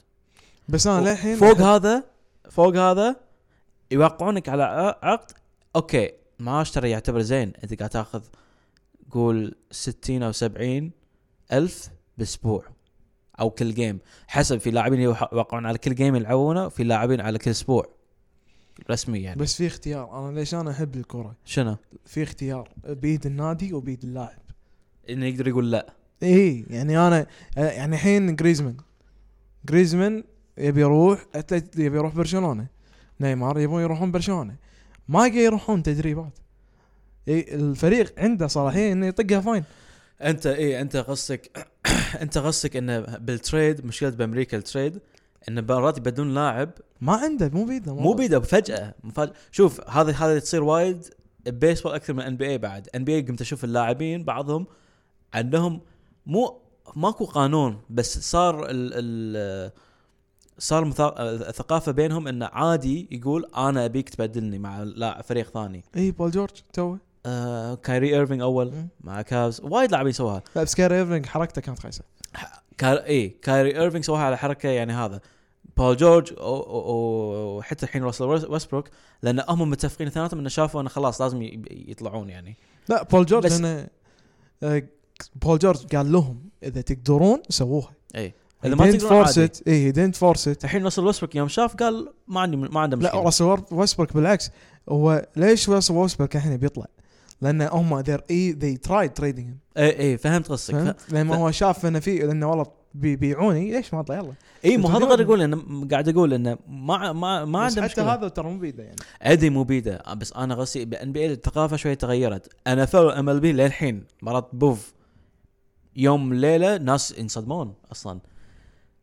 بس انا آه، للحين
فوق هذا فوق هذا يوقعونك على ع- عقد اوكي معاش ترى يعتبر زين انت قاعد تاخذ قول 60 او 70 الف باسبوع او كل جيم حسب في لاعبين يوح- يوقعون على كل جيم يلعبونه وفي لاعبين على كل اسبوع رسمي يعني
بس في اختيار انا ليش انا احب الكره
شنو؟
في اختيار بيد النادي وبيد اللاعب
انه يقدر يقول لا
اي يعني انا آه، يعني الحين جريزمان جريزمان يبي يروح أتلت- يبي يروح برشلونه نيمار يبون يروحون برشلونه ما يقدر يروحون تدريبات إي، الفريق عنده صلاحيه انه يطقها فاين
انت ايه انت قصدك انت قصدك انه بالتريد مشكله بامريكا التريد انه مرات يبدون لاعب
ما عنده مو بيده
مو بيده فجأة مفاجأة شوف هذا هذا تصير وايد بيسبول اكثر من ان بي اي بعد ان بي اي قمت اشوف اللاعبين بعضهم عندهم مو ماكو قانون بس صار ال ال صار مثا- ثقافه بينهم انه عادي يقول انا ابيك تبدلني مع لا فريق ثاني
اي بول جورج توه
آه كايري ايرفينج اول
مم.
مع كافز وايد لاعبين سووها
لا بس كاري ايفنج حركته كانت خايسه
كار اي كايري ايرفينج سواها على حركه يعني هذا بول جورج أو- أو- أو- وحتى الحين راسل ويس- ويسبروك لان هم متفقين اثنيناتهم انه شافوا انه خلاص لازم ي- يطلعون يعني
لا بول جورج
بس-
انا آه، بول جورج قال لهم اذا تقدرون سووها
اي اذا ما تقدرون عادي
فورست اي دنت فورست
الحين راسل ويسبروك يوم شاف قال ما عندي ما عنده
لا
مشكله
راسل وور- ويسبروك بالعكس هو ليش راسل ويسبروك الحين بيطلع؟ لان هم e- ذير اي ذي ترايد تريدنج
اي اي إيه، فهمت قصدك ف...
فهمت؟ لما
ف-
هو شاف انه في انه والله بيبيعوني ليش ما اطلع يلا
اي إيه، مو هذا
تقدرون.
قاعد اقول انه م- قاعد اقول انه ما ما ما
بس
عنده
حتى
مشكله
هذا ترى مو بيده يعني
ادري مو بيده آه، بس انا غسي بان بي الثقافه شوي تغيرت انا فعلا ام ال بي للحين مرات بوف يوم ليله ناس ينصدمون اصلا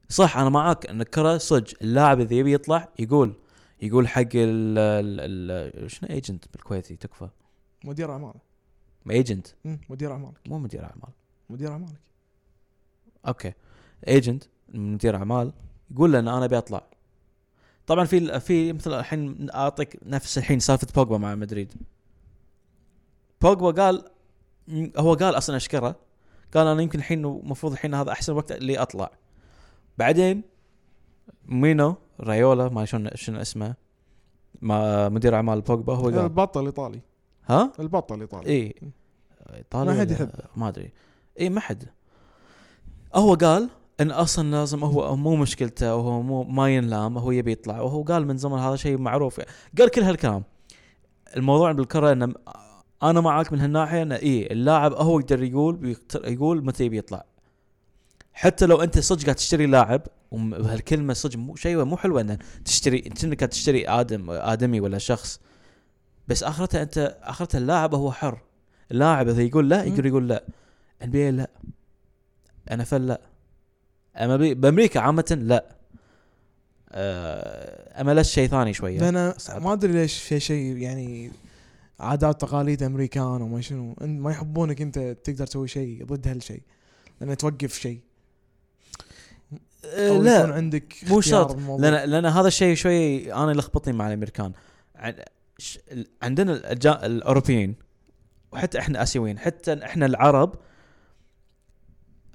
صح انا معاك ان الكره صج اللاعب اذا يبي يطلع يقول يقول حق ال ال- ال- شنو ايجنت بالكويتي تكفى
مدير اعمالك
ما ايجنت
مم، مدير اعمالك
مو مدير اعمال
مدير اعمالك
اوكي ايجنت مدير اعمال يقول له ان انا ابي اطلع طبعا في في مثل الحين اعطيك نفس الحين سالفه بوجبا مع مدريد بوجبا قال م- هو قال اصلا اشكره قال انا يمكن الحين المفروض الحين هذا احسن وقت اللي اطلع بعدين مينو رايولا ما شلون شنو اسمه ما مدير اعمال بوجبا هو قال إيه،
البطل الايطالي
ها
البطل الايطالي
اي ايطاليا
ما حد
ولا-
يحبه.
ما ادري اي ما حد هو قال ان اصلا لازم هو مو مشكلته وهو مو ما ينلام هو يبي يطلع وهو قال من زمان هذا شيء معروف قال كل هالكلام الموضوع بالكره ان إيه، انا معاك من هالناحيه انه اي اللاعب هو يقدر يقول بيقت- يقول متى يبي يطلع حتى لو انت صدق قاعد تشتري لاعب وم- وهالكلمه صدق مو شيء مو حلوه ان تشتري انت انك قاعد تشتري ادم ادمي ولا شخص بس اخرته انت اخرته اللاعب هو حر اللاعب اذا يقول لا يقدر يقول لا ان بي لا ان اف لا اما بي- بامريكا عامه لا آه، اما لش شيء ثاني شويه
لان
صعب.
ما ادري ليش في شيء يعني عادات تقاليد امريكان وما شنو إن- ما يحبونك انت تقدر تسوي شيء ضد هالشيء لان توقف شيء
آه،
او
لا
يكون عندك
مو
اختيار إيه،
شرط.
بالموضوع.
لان لان هذا الشيء شوي انا اللي لخبطني مع الامريكان عن- ش- ال- عندنا الأجا- الاوروبيين وحتى احنا اسيويين حتى احنا العرب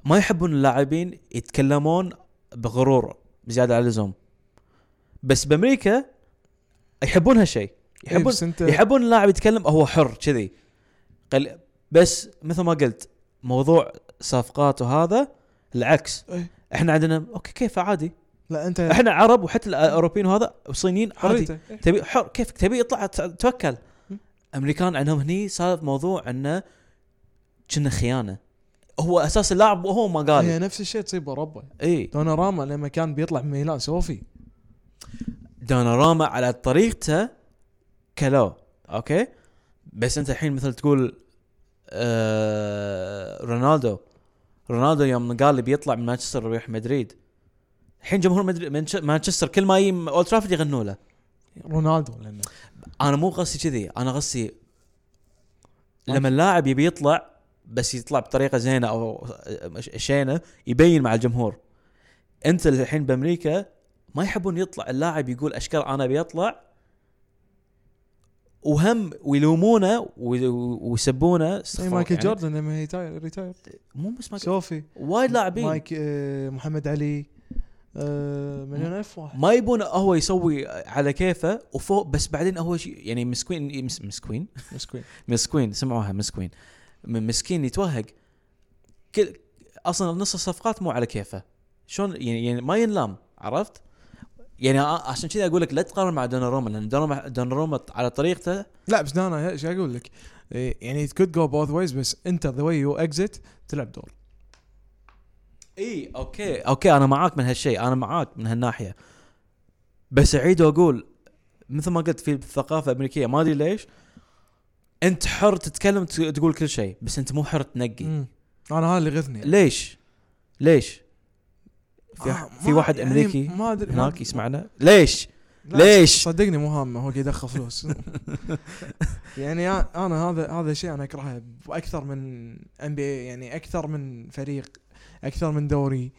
ما يحبون اللاعبين يتكلمون بغرور بزياده عن اللزوم بس بامريكا يحبون هالشيء
إيه،
يحبون
بس انت
يحبون اللاعب يتكلم هو حر كذي قل- بس مثل ما قلت موضوع صفقات وهذا العكس
إيه.
احنا عندنا اوكي كيف عادي
لا انت
احنا عرب وحتى الاوروبيين وهذا وصينيين عادي
حريتك إيه.
تبي حر كيفك تبي اطلع ت- توكل
م.
امريكان عندهم هني صار موضوع انه كنا خيانه هو اساس اللاعب وهو ما قال
هي نفس الشيء تصيب اوروبا
اي
دوناراما لما كان بيطلع من ميلان صوفي
دوناراما على طريقته كلو اوكي بس انت الحين مثل تقول آه رونالدو رونالدو يوم قال لي بيطلع من مانشستر ويروح مدريد الحين جمهور مدريد منش- مانشستر كل ما يجي اولد ترافورد يغنوا له
رونالدو لانه
انا مو قصدي كذي انا قصدي لما اللاعب يبي يطلع بس يطلع بطريقه زينه او شينه يبين مع الجمهور انت الحين بامريكا ما يحبون يطلع اللاعب يقول اشكال انا بيطلع وهم ويلومونه وي- ويسبونه استغفر
زي
الله،
مايكل
يعني
جوردن لما يتاير ريتاير
مو بس مايكل
صوفي
وايد لاعبين
مايك آه، محمد علي آه، مليون الف واحد
ما يبون هو يسوي على كيفه وفوق بس بعدين هو شي- يعني مسكين مس- مسكين
مسكين
مسكين سمعوها مسكين م- مسكين يتوهق كل اصلا نص الصفقات مو على كيفه شلون يعني, يعني ما ينلام عرفت؟ يعني ع- عشان كذا اقول لك لا تقارن مع دوناروما لان دوناروما دوناروما على طريقته
لا بس انا ايش اقول لك إيه، يعني it could go both ways بس انت ذا واي يو اكزت تلعب دور
اي اوكي اوكي انا معاك من هالشيء انا معاك من هالناحيه بس اعيد واقول مثل ما قلت في الثقافه الامريكيه ما ادري ليش انت حر تتكلم ت- تقول كل شيء بس انت مو حر تنقي
مم. انا هذا اللي غثني
ليش؟ ليش؟ في,
آه،
في
ما-
واحد
يعني
امريكي
ما ادري ما-
هناك يسمعنا ليش؟
لا،
ليش؟
صدقني مو هامه هو قاعد يدخل فلوس يعني انا هذا هذا الشيء انا اكرهه اكثر من ام بي يعني اكثر من فريق اكثر من دوري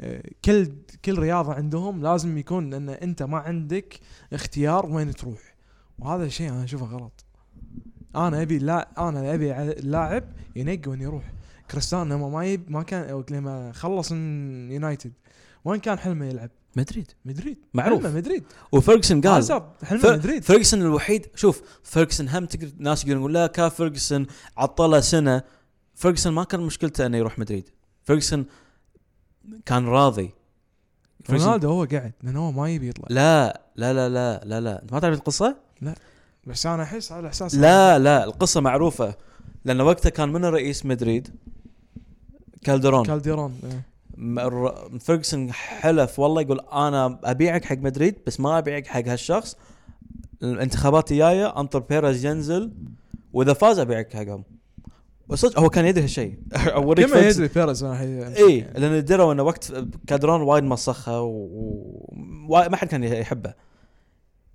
آه، كل كل رياضه عندهم لازم يكون ان انت ما عندك اختيار وين تروح وهذا الشيء انا اشوفه غلط انا ابي لا انا ابي ع- اللاعب ينقي وين يروح كريستيانو لما ما يب ما كان أو لما خلص من يونايتد وين كان حلمه يلعب؟
مدريد
مدريد
معروف
حلمه مدريد
وفيرجسون
قال
قال
حسب حلم
فر-
مدريد
فيرجسون الوحيد شوف فيرجسون هم تقدر ناس يقدرون يقول لا كان فيرجسون عطله سنه فيرجسون ما كان مشكلته انه يروح مدريد فيرجسون كان راضي فيرجسون-
رونالدو هو قاعد لانه هو ما يبي يطلع
لا لا لا لا لا لا انت ما تعرف القصه؟
بس انا احس على احساس
لا لا القصه معروفه لان وقتها كان من رئيس مدريد كالدرون
كالديرون إيه.
م- الر- فيرجسون حلف والله يقول انا ابيعك حق مدريد بس ما ابيعك حق هالشخص الانتخابات الجايه انطر بيريز ينزل واذا فاز ابيعك حقهم وصدق هو كان يدري هالشيء اوريك
كما
فيرجسون
يدري بيرز انا حي-
اي
يعني.
لان دروا انه وقت كادرون وايد مسخها وما حد كان يحبه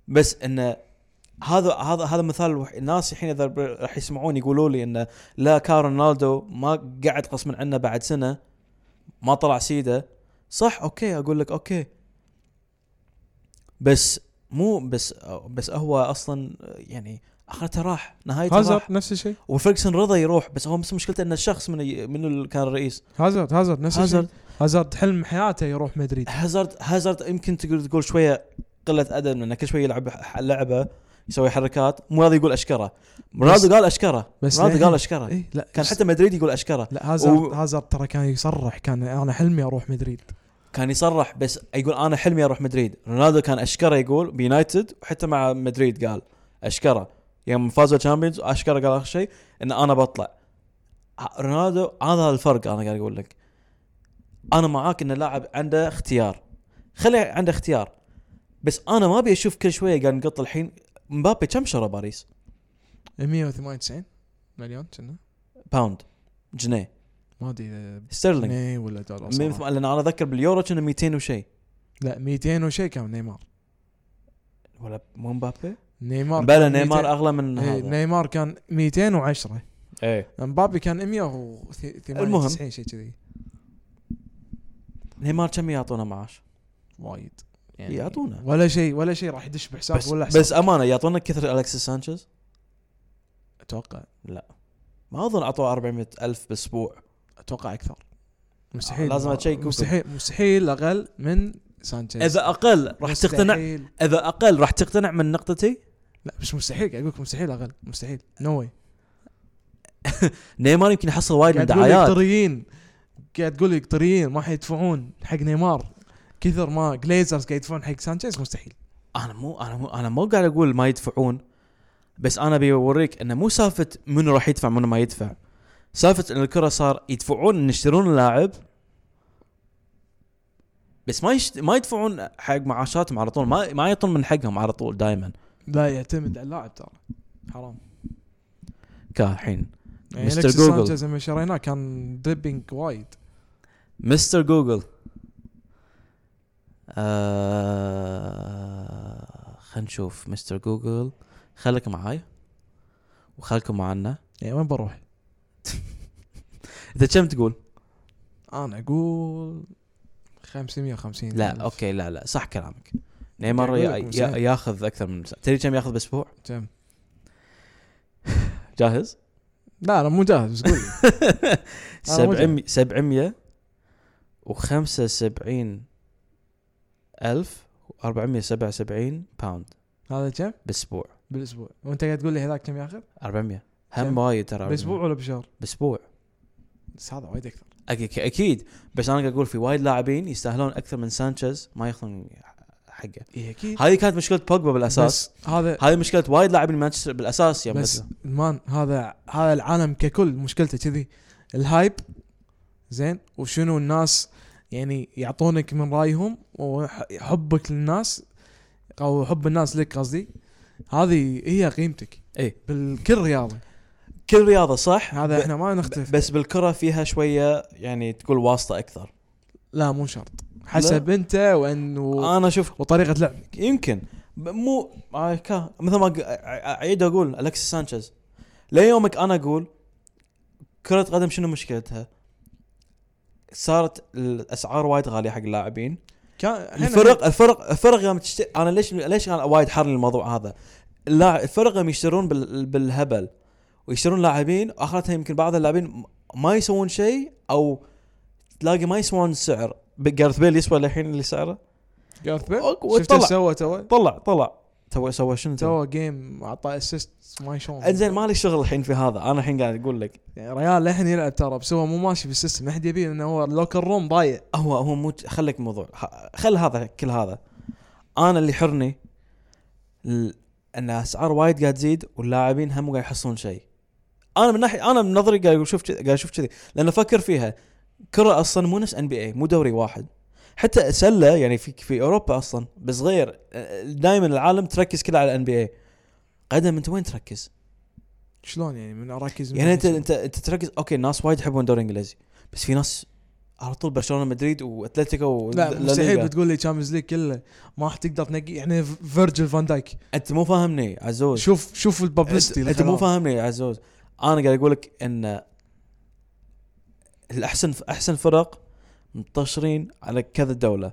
بس انه هذا هذا هذا مثال الوح- الناس الحين اذا ب- راح يسمعون يقولوا لي انه لا كان رونالدو ما قعد غصبا عنه بعد سنه ما طلع سيده صح اوكي اقول لك اوكي بس مو بس بس هو اصلا يعني اخرته راح نهايته راح
هازارد نفس الشيء
وفيرجسون رضى يروح بس هو بس مشكلته ان الشخص من من اللي كان الرئيس
هازارد هازارد نفس
هازارد
الشيء هازارد حلم حياته يروح مدريد
هازارد هازارد يمكن تقدر تقول شويه قله ادب لانه كل شويه يلعب ح- لعبه يسوي حركات مو راضي يقول اشكره رونالدو قال اشكره
بس
رونالدو
ليه؟
قال اشكره
اي لا
كان
بس-
حتى مدريد يقول اشكره
لا هازارد
و-
هازارد ترى كان يصرح كان انا حلمي اروح مدريد
كان يصرح بس يقول انا حلمي اروح مدريد رونالدو كان اشكره يقول بيونايتد وحتى مع مدريد قال اشكره يوم فازوا الشامبيونز اشكره قال اخر شيء ان انا بطلع ه- رونالدو هذا الفرق انا قاعد اقول لك انا معاك ان اللاعب عنده اختيار خلي عنده اختيار بس انا ما ابي اشوف كل شويه قاعد نقط الحين مبابي كم شرى باريس
198 مليون كنا
باوند جنيه
ما ادري اذا
ستيرلينج
جنيه ولا دولار
مين-
صراحة.
لان انا اذكر باليورو كان 200 وشيء
لا 200 وشيء كان نيمار
ولا مو مبابي
نيمار
بلا
كان 200
نيمار اغلى من
إيه،
هذا
نيمار كان 210
ايه
مبابي كان 198
المهم.
شيء كذي
نيمار كم يعطونا معاش
وايد
يعطونا.
ولا شيء ولا شيء راح يدش بحساب
يعني بس
ولا حساب
بس امانه يعطونا كثر الكسيس سانشيز
اتوقع
ما اظن اعطوه 400 الف بالاسبوع
اتوقع اكثر مستحيل
لازم أتشيك وكم.
مستحيل مستحيل اقل من سانشيز
اذا اقل راح تقتنع
مستحيل.
اذا اقل راح تقتنع من نقطتي
لا مش مستحيل قاعد اقول لك مستحيل اقل مستحيل نو واي
نيمار يمكن يحصل وايد من
قاعد تقول لي
دعايات
قطريين قاعد تقول لي قطريين ما حيدفعون حق نيمار كثر ما جليزرز قاعد يدفعون حق سانشيز مستحيل
انا مو انا مو انا مو قاعد اقول ما يدفعون بس انا بيوريك انه مو سالفه منو راح يدفع منو ما يدفع سالفه ان الكره صار يدفعون ان يشترون اللاعب بس ما يشت... ما يدفعون حق معاشاتهم على طول ما ما يعطون من حقهم على طول دائما
لا يعتمد على اللاعب ترى حرام
كالحين
يعني
مستر
أليكسيس
جوجل.
سانشيز لما شريناه كان دريبنج وايد
مستر جوجل آه... خلينا نشوف مستر جوجل خليك معاي وخليكم معنا
يعني وين بروح؟
انت كم تقول؟
انا اقول 550
لا
ألف.
اوكي لا لا صح كلامك نيمار
أقول لك
يا-
مو
يا-
سهل.
ياخذ اكثر من سنة. تدري كم ياخذ باسبوع؟
كم؟
جاهز؟
لا انا مو جاهز بس قول لي.
700 700 و75 ألف و477 باوند
هذا كم؟
باسبوع
بالاسبوع وانت قاعد تقول لي هذاك كم ياخذ؟
400
كم؟
هم وايد ترى
باسبوع ولا بشهر؟
باسبوع
بس هذا وايد اكثر
أك- اكيد بس انا قاعد اقول في وايد لاعبين يستاهلون اكثر من سانشيز ما ياخذون حقه
اي اكيد
هذه كانت مشكله بوجبا بالاساس
إيه، بس هذا
هذه مشكله وايد لاعبين مانشستر بالاساس يا
بس
مثل-
مان هذا هذا العالم ككل مشكلته كذي الهايب زين وشنو الناس يعني يعطونك من رايهم وحبك للناس او حب الناس لك قصدي هذه هي قيمتك
إيه.
بالكل رياضي
كل رياضه صح
هذا
ب-
احنا ما نختلف
بس بالكره فيها شويه يعني تقول واسطه اكثر
لا مو شرط حسب انت وان و...
انا اشوف
وطريقه لعبك
يمكن ب- مو آه، كا- مثل ما ق- ع- اعيد اقول الكسيس سانشيز ليومك انا اقول كرة قدم شنو مشكلتها؟ صارت الاسعار وايد غاليه حق اللاعبين
كان إحنا-
الفرق الفرق الفرق يوم تشتري انا ليش ليش انا وايد حار الموضوع هذا اللاع- الفرق يوم يشترون بال... بالهبل ويشترون لاعبين اخرتها يمكن بعض اللاعبين م- ما يسوون شيء او تلاقي ما يسوون سعر جارث بيل يسوى للحين اللي سعره
جارث بيل
و-
شفت ايش
وطلع.
سوى تو
طلع طلع تو سوى شنو تو
تو جيم اعطى اسيست ما يشون
انزين ما لي شغل الحين في هذا انا الحين قاعد اقول لك
يعني ريال للحين يلعب ترى بس هو مو ماشي بالسيستم ما حد يبيه لانه هو لوكر روم ضايع
هو هو مو خليك موضوع خ- خل هذا كل هذا انا اللي حرني ال- ان اسعار وايد قاعد تزيد واللاعبين هم قاعد يحصلون شيء انا من ناحيه انا من نظري قاعد اشوف كذ- قاعد اشوف كذي لان افكر فيها كره اصلا مو نفس ان بي اي مو دوري واحد حتى سله يعني في في اوروبا اصلا بس غير دائما العالم تركز كله على الان بي اي قدم انت وين تركز؟
شلون يعني من اركز من
يعني انت
شنو؟
انت انت تركز اوكي الناس وايد يحبون الدوري الانجليزي بس في ناس على طول برشلونه مدريد واتلتيكو و...
لا مستحيل بتقول لي تشامبيونز ليج كله ما راح تقدر تنقي يعني فيرجل فان دايك
انت مو فاهمني عزوز
شوف شوف
انت,
الببلستي
انت مو فاهمني عزوز انا قاعد اقول لك ان الاحسن احسن فرق منتشرين على كذا دوله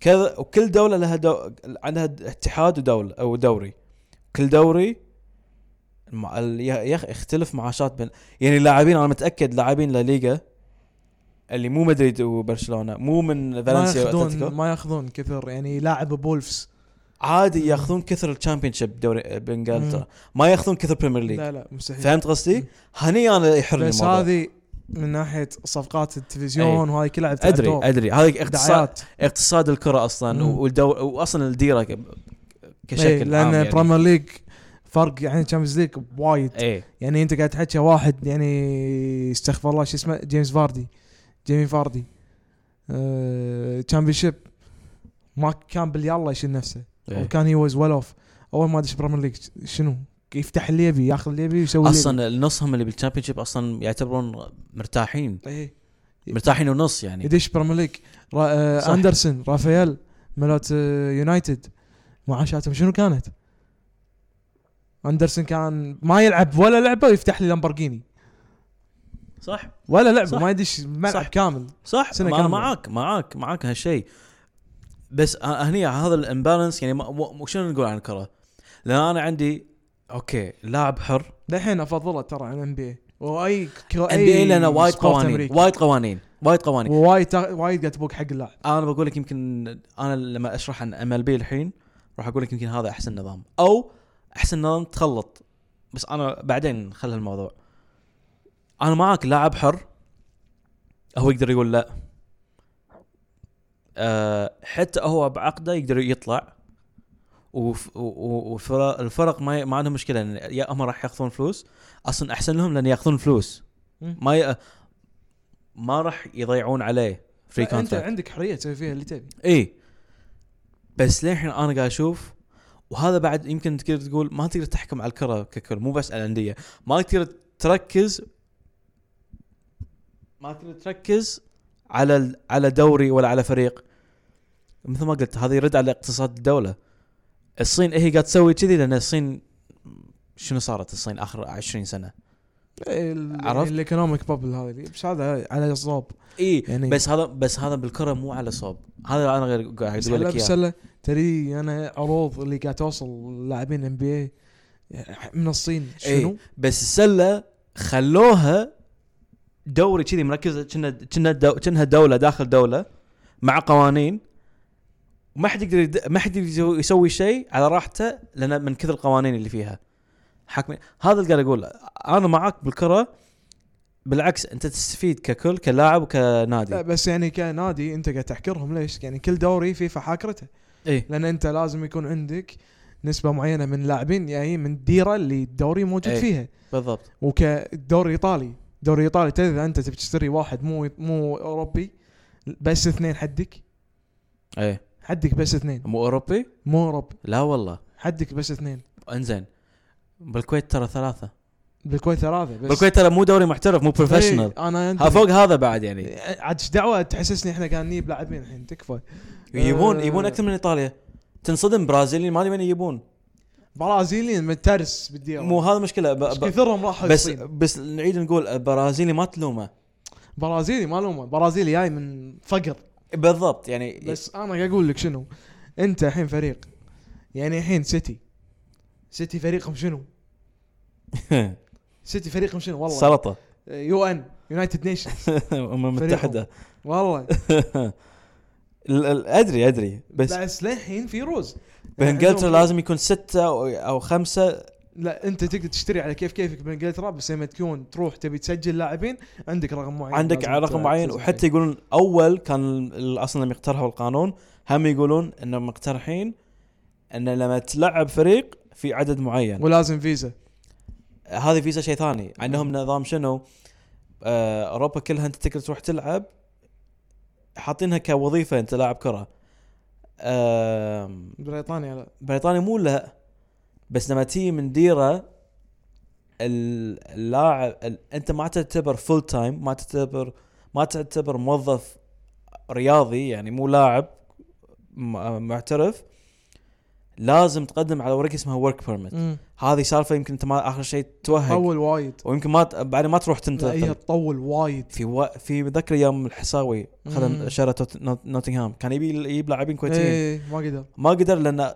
كذا وكل دوله لها دو... عندها اتحاد ودوله او دوري كل دوري مع... ال- يا يا اخي اختلف معاشات بين يعني اللاعبين انا متاكد لاعبين لا ليغا اللي مو مدريد وبرشلونه مو من
ما
فالنسيا
ياخذون
واتلتيكو
ما ياخذون كثر يعني لاعب بولفز
عادي ياخذون كثر الشامبيون شيب دوري بانجلترا ما ياخذون كثر بريمير ليج
لا لا مستحيل
فهمت قصدي؟
مم.
هني انا يحرني
بس
الموضوع إيه.
هذه من ناحيه صفقات التلفزيون وهاي كلها لعب
ادري ادري هذا اقتصاد
دعايات
اقتصاد الكره اصلا
مم.
والدور واصلا الديره ك- كشكل
إيه،
عام
لان
يعني.
بريمير ليج فرق يعني تشامبيونز ليج وايد
ايه
يعني انت قاعد تحكي واحد يعني استغفر الله شو اسمه جيمس فاردي جيمي فاردي تشامبيون شيب إيه، ما كان باليلا يشيل نفسه
إيه.
وكان هي واز ويل اوف اول ما دش بريمير ليج شنو يفتح اللي يبي ياخذ اللي يبي يسوي اللي
اصلا نصهم اللي بالشامبيون شيب اصلا يعتبرون مرتاحين
يبي. إيه.
مرتاحين ونص يعني
يدش بريمير ليج را...
صح.
آه اندرسون رافائيل ملوت آه يونايتد معاشاتهم شنو كانت؟ اندرسون كان ما يلعب ولا لعبه ويفتح لي لامبورجيني
صح
ولا لعبه
صح.
ما يدش ملعب
صح.
كامل
صح
سنة
ما انا
كاملة.
معاك معاك معاك هالشيء بس أ- هني هذا الامبالانس يعني ما- مو- مو- شنو نقول عن الكره؟ لان انا عندي اوكي لاعب حر
للحين افضله ترى عن ام بي إيه. اي واي
ان بي اي لنا وايد قوانين وايد قوانين وايد قوانين
وايد تا- وايد قاعد تبوق حق اللاعب
انا بقول لك يمكن انا لما اشرح عن ام ال بي الحين راح اقول لك يمكن هذا احسن نظام او احسن نظام تخلط بس انا بعدين خل الموضوع انا معاك لاعب حر هو يقدر يقول لا أه حتى هو بعقده يقدر يطلع والفرق ما ي- ما عندهم مشكله إن يا هم راح ياخذون فلوس اصلا احسن لهم لان ياخذون فلوس ما ي... ما راح يضيعون عليه فري
انت
كونتاكت
عندك حريه تسوي فيها اللي تبي
اي إيه. بس للحين انا قاعد اشوف وهذا بعد يمكن تقدر تقول ما تقدر تحكم على الكره ككل مو بس على الانديه ما تقدر تركز ما تقدر تركز على ال- على دوري ولا على فريق مثل ما قلت هذا يرد على اقتصاد الدوله الصين إيه هي قاعد تسوي كذي لان الصين شنو صارت الصين اخر 20 سنه عرفت؟
عرفت الايكونوميك بابل هذا اللي- بس هذا على صوب
اي
يعني-
إيه. بس هذا بس هذا بالكره مو على صوب هذا انا غير- قاعد اقول لك اياه
سله تري انا عروض اللي قاعد توصل لاعبين ام بي اي من الصين شنو؟
إيه. بس السله خلوها دوري كذي مركزه كنا كنا دو كانها دوله داخل دوله مع قوانين ما حد يقدر يد- ما حد يقدر يسوي شيء على راحته لان من كثر القوانين اللي فيها حاكمين هذا اللي قاعد اقول انا معاك بالكره بالعكس انت تستفيد ككل كلاعب
لا
وكنادي
بس يعني كنادي انت قاعد تحكرهم ليش؟ يعني كل دوري فيفا حاكرته
اي
لان انت لازم يكون عندك نسبه معينه من لاعبين يعني من الديره اللي الدوري موجود
إيه.
فيها
بالضبط
وكدوري ايطالي دوري ايطالي تدري اذا انت تبي تشتري واحد مو مو اوروبي بس اثنين حدك
اي
حدك بس اثنين
مو اوروبي
مو اوروبي
لا والله
حدك بس اثنين
انزين بالكويت ترى ثلاثه
بالكويت ثلاثه بس
بالكويت ترى مو دوري محترف مو بروفيشنال
إيه، انا أنت-
ها فوق هذا بعد يعني
عاد ايش دعوه تحسسني احنا قاعد نجيب لاعبين الحين تكفى
يبون
آه.
يبون اكثر من ايطاليا تنصدم برازيليين ما ادري وين يجيبون
برازيليين من ترس بالديره
مو هذا مشكله ب...
إيش
ب...
كثرهم راحوا
بس
بس
بس نعيد نقول برازيلي ما تلومه
برازيلي ما لومه برازيلي جاي من فقر
بالضبط يعني بس
بس انا قاعد اقول لك شنو انت الحين فريق يعني الحين سيتي سيتي فريقهم شنو؟ سيتي فريقهم شنو والله آه،
سلطه
يو ان يونايتد نيشن
الامم المتحده
والله
ال- ال- ادري ادري بس
بس للحين في روز
بانجلترا
عندهم-
لازم يكون سته او, أو خمسه
لا انت تقدر تشتري على كيف كيفك بانجلترا بس لما تكون تروح تبي تسجل لاعبين عندك رقم معين
عندك
لازم
على رقم
ت-
معين
تسجل
وحتى
فيه.
يقولون اول كان ال- اصلا لما اقترحوا القانون هم يقولون انهم مقترحين ان لما تلعب فريق في عدد معين
ولازم فيزا
هذه فيزا شيء ثاني عندهم نظام شنو آه، اوروبا كلها انت تقدر تروح تلعب حاطينها كوظيفه انت لاعب كره آم،
بريطانيا لا
بريطانيا مو لا بس لما تيجي من ديره ال- اللاعب ال- انت ما تعتبر فول تايم ما تعتبر ما تعتبر موظف رياضي يعني مو لاعب م- آه، معترف لازم تقدم على ورقه اسمها ورك بيرمت
مم.
هذه سالفه يمكن انت ما اخر شيء توهق
طول وايد
ويمكن ما ت- بعدين ما تروح
لا هي
تنتظر
تطول وايد
في و... في متذكر يوم الحساوي
مم.
خذ شارة توت- نوت- نوتنغهام كان يبي يجيب لاعبين كويتيين
ايه ما قدر
ما قدر لان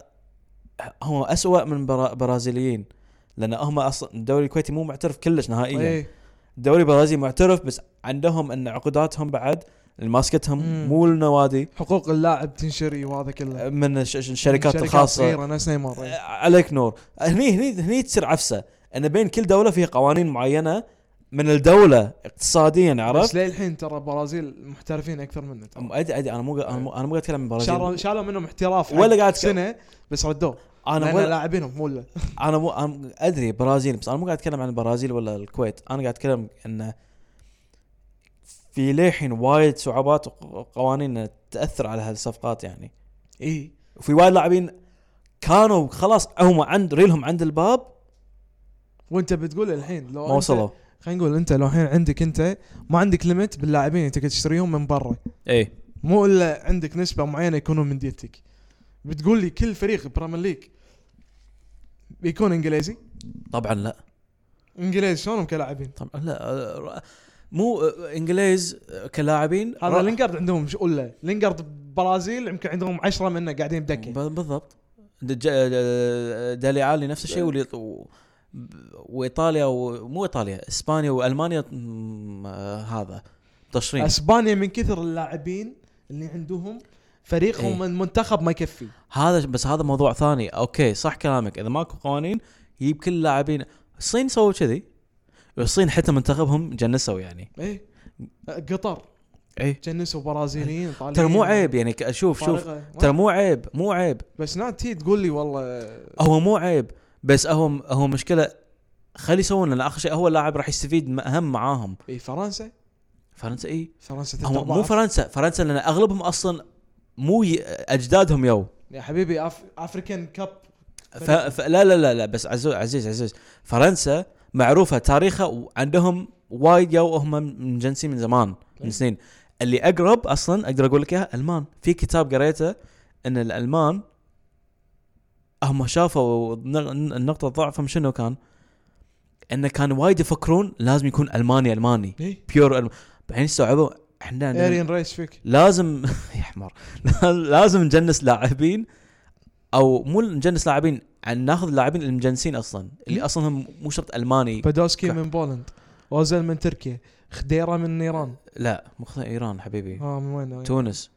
هم أسوأ من برا... برازيليين لان هم اصلا الدوري الكويتي مو معترف كلش نهائيا
ايه
الدوري البرازيلي معترف بس عندهم ان عقوداتهم بعد اللي ماسكتهم
مم.
مو النوادي
حقوق اللاعب تنشري وهذا كله
من الش... الشركات
شركات
الخاصه
صغيره ناس نيمار إيه.
عليك نور هني هني هني تصير عفسه ان بين كل دوله فيها قوانين معينه من الدوله اقتصاديا عرفت
بس للحين ترى برازيل محترفين اكثر منا ترى
أم- ادري ادري انا مو قا- انا مو انا مو قاعد اتكلم عن
شالوا
برازيل
شالوا منهم احتراف حق
ولا قاعد أتكلم-
سنه بس ردوه
انا
انا
ولا
لاعبينهم ولا
انا مو أنا ادري برازيل بس انا مو قاعد اتكلم عن البرازيل ولا الكويت انا قاعد اتكلم ان في للحين وايد صعوبات وقوانين تاثر على هالصفقات يعني
اي
وفي وايد لاعبين كانوا خلاص هم عند ريلهم عند الباب
وانت بتقول الحين لو
ما وصلوا
خلينا نقول انت لو الحين عندك انت ما عندك ليمت باللاعبين انت قاعد تشتريهم من برا
اي
مو الا عندك نسبه معينه يكونون من ديتك بتقول لي كل فريق بريمير ليج بيكون انجليزي
طبعا لا
انجليزي شلونهم كلاعبين
طبعا لا آه، مو آه، انجليز آه، كلاعبين
هذا
را-
لينجارد عندهم شو ولا لينجارد برازيل يمكن عندهم عشرة منه قاعدين بدكه
ب- بالضبط دج- آه، دالي علي نفس الشيء واللي- و- وايطاليا ومو ايطاليا اسبانيا والمانيا م- آه، هذا تشرين
اسبانيا من كثر اللاعبين اللي عندهم فريقهم
إيه.
المنتخب ما يكفي
هذا بس هذا موضوع ثاني اوكي صح كلامك اذا ماكو قوانين يجيب كل اللاعبين الصين سووا كذي الصين حتى منتخبهم جنسوا يعني
ايه قطر
اي
جنسوا برازيليين طالعين
ترى مو إيه. عيب يعني ك- شوف شوف
فارغة. ما-
ترى مو عيب مو عيب
بس ناس تي تقول لي والله
هو مو عيب بس هو هو مشكله خلي يسوون لان اخر شيء هو اللاعب راح يستفيد م- اهم معاهم
اي إيه، فرنسا
فرنسا اي
فرنسا
هم
تتبع
مو فرنسا فرنسا لان اغلبهم اصلا مو ي... اجدادهم يو
يا حبيبي أف... افريكان كاب
ف... ف... لا لا لا لا بس عزو... عزيز عزيز فرنسا معروفه تاريخها وعندهم وايد يو هم من جنسي من زمان من
إيه.
سنين اللي اقرب اصلا اقدر اقول لك اياها المان في كتاب قريته ان الالمان هم شافوا نق- النقطه ضعفهم شنو كان؟ انه كان وايد يفكرون لازم يكون الماني الماني
ايه
بيور الم... بعدين استوعبوا احنا عندنا
ارين ريس فيك
لازم يا حمار لازم نجنس لاعبين او مو نجنس لاعبين عن ناخذ اللاعبين اللي مجنسين اصلا اللي
مم.
اصلا هم مو شرط الماني
بادوسكي
كا-
من بولند اوزل من تركيا خديره من ايران
لا مو خ- ايران حبيبي
اه من وين أنا؟
تونس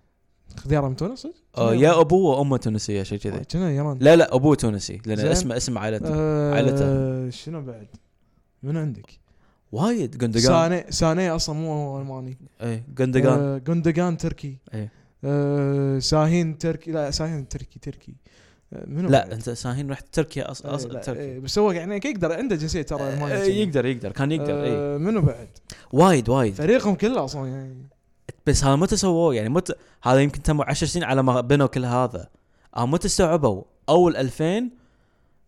خديره من تونس صدق؟
إيه. آه، يا ابوه وامه تونسيه شيء كذي
كذا ايران
لا لا ابوه تونسي لان
زين.
اسمه اسم عائلته
آه،
عائلته.
شنو بعد؟ من عندك؟
وايد إيه، جندقان
ساني ساني اصلا مو الماني
اي جندقان
آه، جندجان تركي
إيه.
آه، شاهين تركي لا شاهين تركي تركي آه، منو
لا
بعد؟
انت ساهين رحت تركيا
آه،
اصلا اصلا
لا،
تركيا
إيه، بس هو يعني يقدر عنده جنسيه ترى
آه،
المانيه
آه، يقدر يقدر كان يقدر إيه. اي
آه، منو بعد؟
وايد وايد
فريقهم كله اصلا يعني
بس هذا متى سووه يعني متى هذا يمكن تم 10 سنين على ما بنوا كل هذا آه متى استوعبوا اول 2000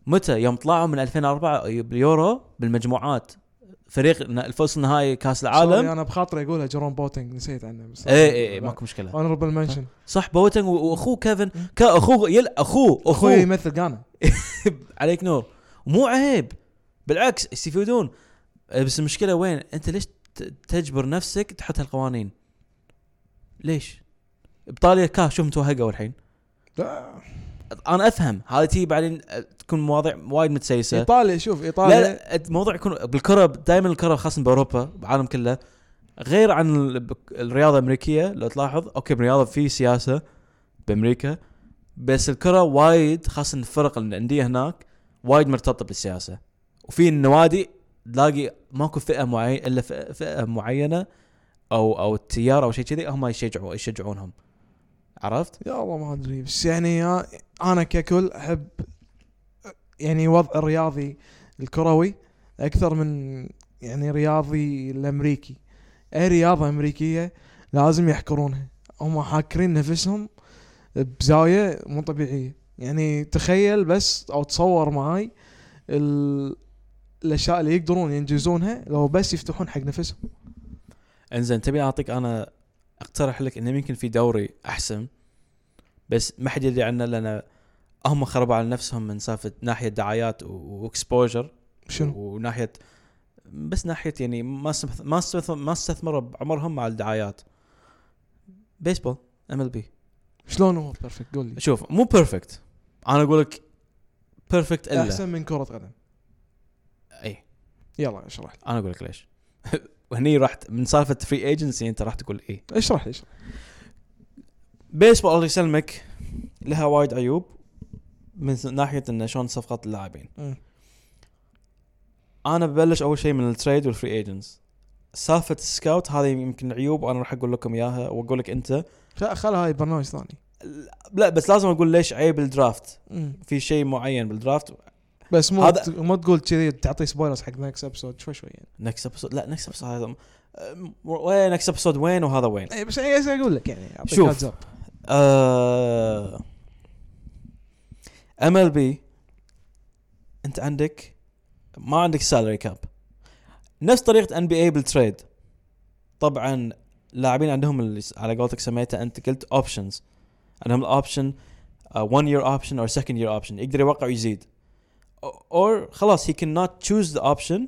متى يوم طلعوا من 2004 باليورو بالمجموعات فريق ن- الفوز النهائي كاس
سوري
العالم
انا بخاطري اقولها جيروم بوتنج نسيت عنه بس
اي اي اي إيه، ماكو مشكله
اونربل منشن
صح بوتنج و- واخوه كيفن ك- اخوه يل اخوه
اخوي
اخوه
يمثل غانا
عليك نور مو عيب بالعكس يستفيدون آه، بس المشكله وين انت ليش ت- تجبر نفسك تحط هالقوانين ليش ايطاليا كا شوف متوهقوا الحين
لا،
انا افهم هذه تي بعدين تكون مواضيع وايد متسيسه
ايطاليا شوف
لا
ايطاليا
لا الموضوع يكون بالكره دائما الكره خاصه باوروبا بالعالم كله غير عن ال- الرياضه الامريكيه لو تلاحظ اوكي بالرياضه في سياسه بامريكا بس الكره وايد خاصه الفرق الانديه هناك وايد مرتبطه بالسياسه وفي النوادي تلاقي ماكو فئه معينه الا فئة- فئه معينه او او التيار او شيء كذي هم يشجعون يشجعونهم عرفت؟
يا الله ما ادري بس يعني يا- انا ككل احب يعني وضع الرياضي الكروي اكثر من يعني رياضي الامريكي اي رياضه امريكيه لازم يحكرونها هم حاكرين نفسهم بزاويه مو طبيعيه يعني تخيل بس او تصور معاي ال... الاشياء اللي يقدرون ينجزونها لو بس يفتحون حق نفسهم
انزين تبي اعطيك انا اقترح لك انه يمكن في دوري احسن بس ما حد يدري عنه لان هم خربوا على نفسهم من سالفه ناحيه دعايات و- واكسبوجر
شنو؟
وناحيه بس ناحيه يعني ما استث- ما استث- ما استثمروا بعمرهم مع الدعايات بيسبول ام ال بي
شلون هو بيرفكت قول لي
شوف مو بيرفكت انا اقول لك بيرفكت الا أحسن.
احسن من كره قدم
اي
يلا اشرح لي
انا اقول إيه، لك ليش وهني رحت من سالفه فري ايجنسي انت راح تقول ايه
اشرح لي اشرح
بيسبول الله يسلمك لها وايد عيوب من س- ناحيه انه شلون صفقات اللاعبين
مم.
انا ببلش اول شيء من التريد والفري ايجنتس سالفه السكاوت هذه يمكن عيوب انا راح اقول لكم اياها واقول لك انت
لا خل هاي برنامج ثاني
لا بس لازم اقول ليش عيب الدرافت
مم.
في شيء معين بالدرافت
بس مو
هذا-
هذا... ما تقول كذي تعطي سبويلرز حق نكس ابسود شوي شوي يعني
نكس ابسود لا نكس ابسود هذا أم، وين اكس ابسود وين وهذا وين
اي إيه، بس انا قاعد اقول لك يعني أعطيك
شوف.
heads up.
ام ال بي انت عندك ما عندك سالري كاب نفس طريقه ان بي اي بالتريد طبعا لاعبين عندهم اللي س- على قولتك سميته انت قلت اوبشنز عندهم آه، الاوبشن 1 يير اوبشن اور سكند يير اوبشن يقدر يوقع ويزيد اور خلاص هي كان نوت تشوز ذا اوبشن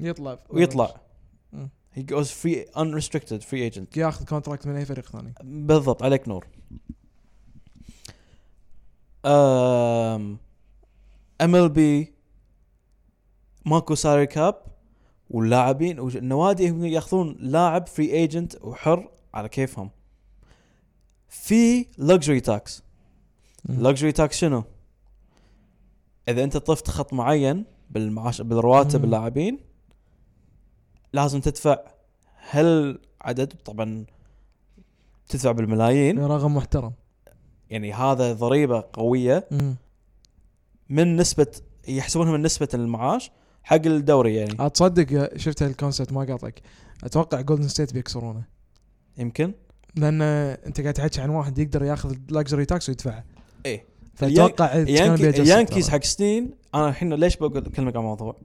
يطلع
ويطلع
مم.
هي جوز فري unrestricted فري ايجنت
ياخذ كونتراكت من اي فريق ثاني
بالضبط عليك نور أم ال بي ماكو سالري كاب واللاعبين والنوادي هم ياخذون لاعب فري ايجنت وحر على كيفهم في لكجري تاكس لكجري تاكس شنو؟ اذا انت طفت خط معين بالمعاش بالرواتب
مم.
اللاعبين لازم تدفع هل عدد طبعا تدفع بالملايين
رقم محترم
يعني هذا ضريبه قويه
مم.
من نسبه يحسبونها من نسبه المعاش حق الدوري
آه.
يعني
اتصدق شفت هالكونسبت ما قاطعك اتوقع جولدن ستيت بيكسرونه
يمكن
لان انت قاعد تحكي عن واحد يقدر ياخذ لكزري تاكس ويدفعه
إيه.
فاتوقع it's gonna be
يانكي
adjusted
يانكيز
ترى.
حق سنين انا الحين ليش بقول اكلمك عن الموضوع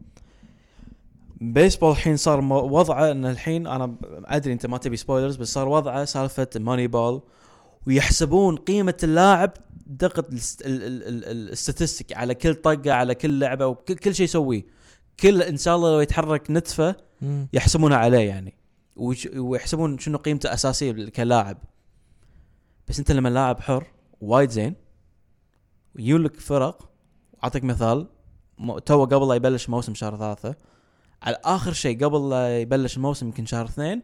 بيسبول الحين صار مو- وضعه ان الحين انا ب- ادري انت ما تبي سبويلرز بس صار وضعه سالفه ماني بول ويحسبون قيمه اللاعب دقه الاست- ال- ال- ال- الاستاتستيك على كل طقه على كل لعبه وكل كل شيء يسويه كل ان شاء الله لو يتحرك نتفه
مم.
يحسبونها عليه يعني ويش- ويحسبون شنو قيمته اساسيه كلاعب بس انت لما لاعب حر وايد زين ويجولك فرق اعطيك مثال م- تو قبل لا يبلش موسم شهر ثلاثة على اخر شيء قبل لا يبلش الموسم يمكن شهر اثنين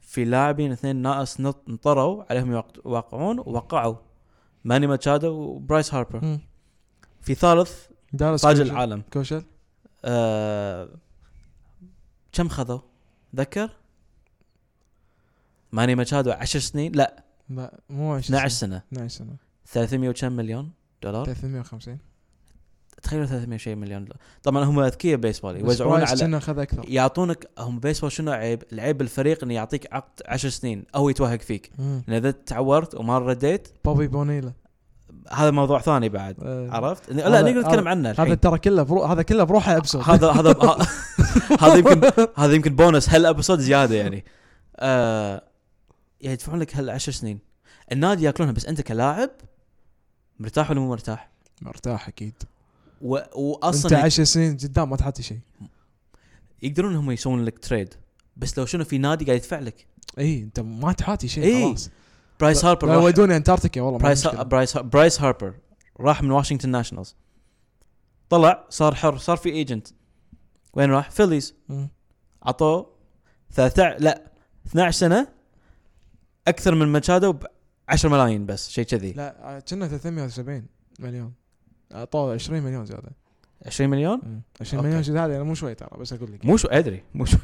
في لاعبين اثنين ناقص نط- نطروا عليهم يوق- يوقعون ووقعوا ماني ماتشادو وبرايس هاربر
مم.
في ثالث
دارس
تاج
كوشل.
العالم
كوشل
آه، كم خذوا؟ ذكر؟ ماني ماتشادو 10 سنين لا
لا مو 10
12 سنه
12 سنه
300 وكم مليون دولار
350
تخيل 300 شيء مليون دولار طبعا هم اذكياء بيسبول
بس
يوزعون
برايس
على
كنا اخذ اكثر
يعطونك هم بيسبول شنو عيب؟ العيب بالفريق انه يعطيك عقد 10 سنين او يتوهق فيك
مم.
لان اذا تعورت وما رديت
بوبي بونيلا
هذا موضوع ثاني بعد
آه.
عرفت؟ لا
هذا-
نقدر نتكلم عنه
هذا
الحين.
ترى كله برو... هذا كله بروحه ابسود
هذا هذا ه- هذا يمكن هذا يمكن بونس هالابسود زياده يعني آه يعني يدفعون لك هالعشر سنين النادي ياكلونها بس انت كلاعب مرتاح ولا مو مرتاح؟
مرتاح اكيد
و...
انت
واصلا
10 سنين قدام ما تحط شيء
يقدرون هم يسوون لك تريد بس لو شنو في نادي قاعد يدفع لك
اي انت ما تحاتي شيء
إي.
خلاص
برايس هاربر
لو
راح-
يودوني انتاركتيكا والله ما
برايس
في مشكلة.
برايس برايس هاربر راح من واشنطن ناشونالز طلع صار حر صار في ايجنت وين راح؟ فيليز
مم.
عطوه 13 لا 12 سنه اكثر من ماتشادو ب 10 ملايين بس شيء كذي
لا آه، كنا 370 مليون اعطوه 20 مليون زياده
20 مليون
مم. 20
أوكي.
مليون زياده يعني مو شوي ترى بس اقول لك
مو شو ادري مو شوي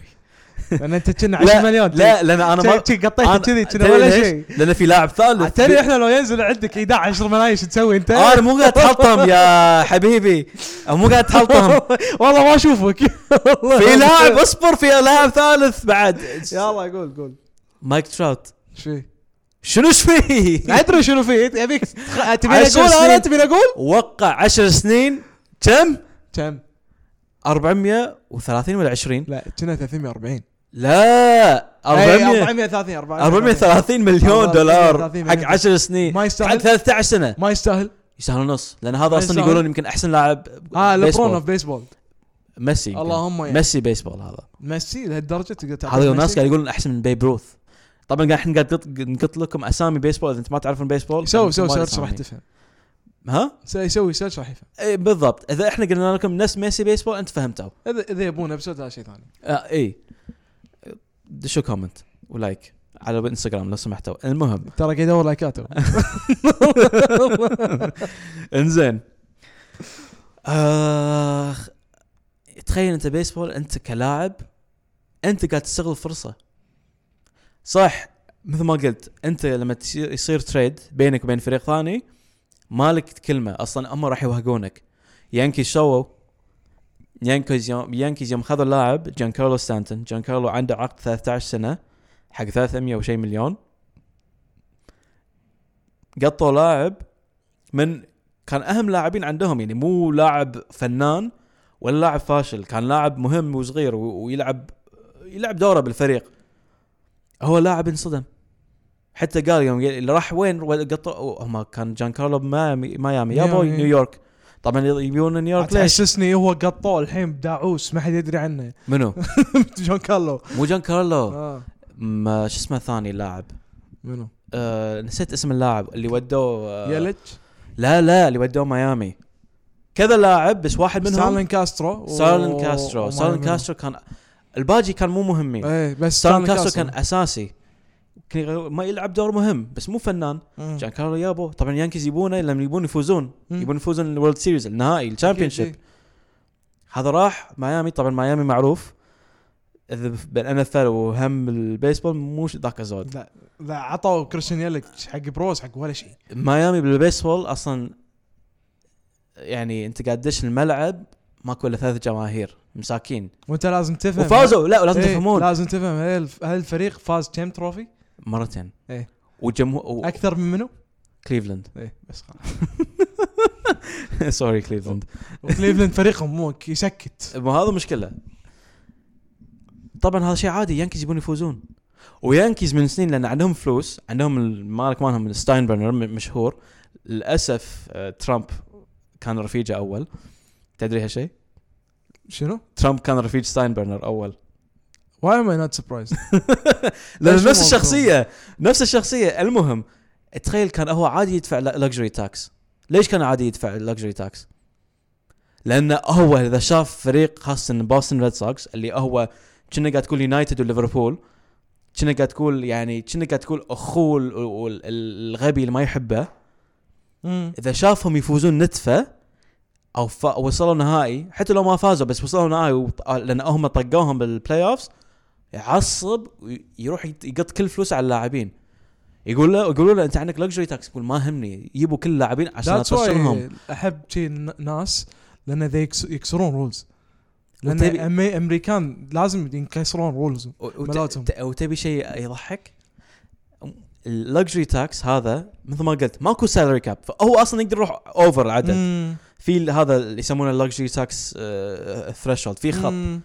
لان انت كنا
لا،
10 مليون
لا لان انا ما
شي
أنا-
قطيت كذي كنا
تدري
ولا
ليش؟
شيء
لان في لاعب ثالث
ترى احنا لو ينزل عندك ايداع 10 ملايين ايش تسوي انت؟
انا مو قاعد تحطم يا حبيبي أنا مو قاعد تحطم
والله ما اشوفك
في لاعب اصبر في لاعب ثالث بعد
يلا قول قول
مايك تراوت
ايش فيه؟
شنو ايش فيه؟
ادري شنو فيه أنت- ابيك تخ- تبي
عشر
اقول
سنين.
انا تبي اقول؟
وقع 10 سنين كم؟
كم؟
430 ولا 20؟
لا كنا 340 إيه،
لا 400
430
430 مليون
430
دولار حق
مليون.
10 سنين
ما
حق
يستاهل
13 سنه
ما يستاهل
يستاهلون نص لان هذا
ما
اصلا
يستاهل.
يقولون يمكن احسن لاعب
اه
بيسبول.
لبرون اوف بيسبول
ميسي يمكن.
اللهم يعني
ميسي بيسبول هذا
ميسي لهالدرجه تقدر تعطيه
هذا
ميسي؟
الناس قاعد يقولون احسن من بيب روث طبعا قاعد احنا قاعد نط- نقط لكم اسامي بيسبول اذا انتم ما تعرفون بيسبول
سوي سوي
ما
سيرش راح
أسامي.
تفهم
ها؟
س- يسوي سيرش راح يفهم
اي بالضبط اذا احنا قلنا لكم نفس ميسي بيسبول انت فهمتوا
اذا اذا يبون ابسود هذا شيء ثاني
آه اي دشوا كومنت ولايك على الانستغرام لو سمحتوا المهم
ترى قاعد يدور لايكات هو.
انزين اخ تخيل انت بيسبول انت كلاعب انت قاعد تستغل فرصه صح مثل ما قلت انت لما تصير يصير تريد بينك وبين فريق ثاني مالك كلمه اصلا هم راح يوهقونك يانكي شو سووا؟ يانكيز يوم يانكيز يوم خذوا اللاعب جان كارلو ستانتون جان كارلو عنده عقد 13 سنه حق 300 وشي مليون قطوا لاعب من كان اهم لاعبين عندهم يعني مو لاعب فنان ولا لاعب فاشل كان لاعب مهم وصغير و- ويلعب يلعب دوره بالفريق هو لاعب انصدم حتى قال يوم ي- راح وين قطوا هم كان جان كارلو بميامي ميامي يابو
ميامي.
نيويورك طبعا يبون نيويورك ليش؟
تحسسني هو قطوه الحين بداعوس ما حد يدري عنه
منو؟
جون كارلو
مو جان كارلو
آه.
ما شو اسمه ثاني اللاعب
منو؟
آه نسيت اسم اللاعب اللي ودوه آه
يلتش
لا لا اللي ودوه ميامي كذا لاعب بس واحد منهم
ستارلين كاسترو و-
سارلين كاسترو
وما
سارلين
منو.
كاسترو كان الباجي كان مو مهمين
ايه بس
سارلين كاسترو كان اساسي كان ما يلعب دور مهم بس مو فنان
مم.
جان كارلو يابو طبعا يانكيز يبونه لما يبون يفوزون
مم.
يبون يفوزون الورلد سيريز النهائي الشامبيون شيب هذا راح ميامي طبعا ميامي معروف إذا بالان اف ال وهم البيسبول مو ش- ذاك الزود
لا لا عطوا كريستيان يلتش حق بروز حق ولا شيء
ميامي بالبيسبول اصلا يعني انت قاعد تدش الملعب ماكو الا ثلاث جماهير مساكين
وانت لازم تفهم
وفازوا لا لازم
إيه،
تفهمون
لازم تفهم هل الف- هل الفريق فاز كم تروفي؟
مرتين
إيه.
وجمهور و-
اكثر من منو؟
كليفلاند
ايه بس خلاص
سوري كليفلاند
وكليفلاند فريقهم مو يسكت
ما هذا مشكله طبعا هذا شيء عادي يانكيز يبون يفوزون ويانكيز من سنين لان عندهم فلوس عندهم المالك مالهم ستاينبرنر م- مشهور للاسف آه، ترامب كان رفيجه اول تدري هالشيء؟
شنو؟
ترامب كان رفيج ستاينبرنر اول
واي ام اي نوت سربرايز
لان
ليش
نفس
الموضوع؟
الشخصيه نفس الشخصيه المهم تخيل كان هو عادي يدفع لكجري تاكس ليش كان عادي يدفع لكجري تاكس لانه هو اذا شاف فريق خاصه بوسton ريد سوكس اللي هو كنا قاعد تقول يونايتد وليفربول كنا قاعد تقول يعني كنا قاعد تقول اخوه ال- ال- الغبي اللي ما يحبه اذا شافهم يفوزون نتفه او ف... وصلوا نهائي حتى لو ما فازوا بس وصلوا نهائي وط... لان هم طقوهم بالبلاي اوفز يعصب ويروح يت- يقط كل فلوسه على اللاعبين يقول له يقولوا له انت عندك لكجري تاكس يقول ما همني يجيبوا كل اللاعبين عشان
ذاتس واي
اتصلهم
احب شي ن- ناس لان ذي يكس- يكسرون رولز لان
وتبي-
أمي- امريكان لازم ينكسرون رولز ملاتهم.
وت... وتبي شيء يضحك اللكجري تاكس هذا مثل ما قلت ماكو سالري كاب فهو اصلا يقدر يروح اوفر العدد
مم.
في ال- هذا اللي يسمونه اللكجري تاكس ثريشولد في خط
مم.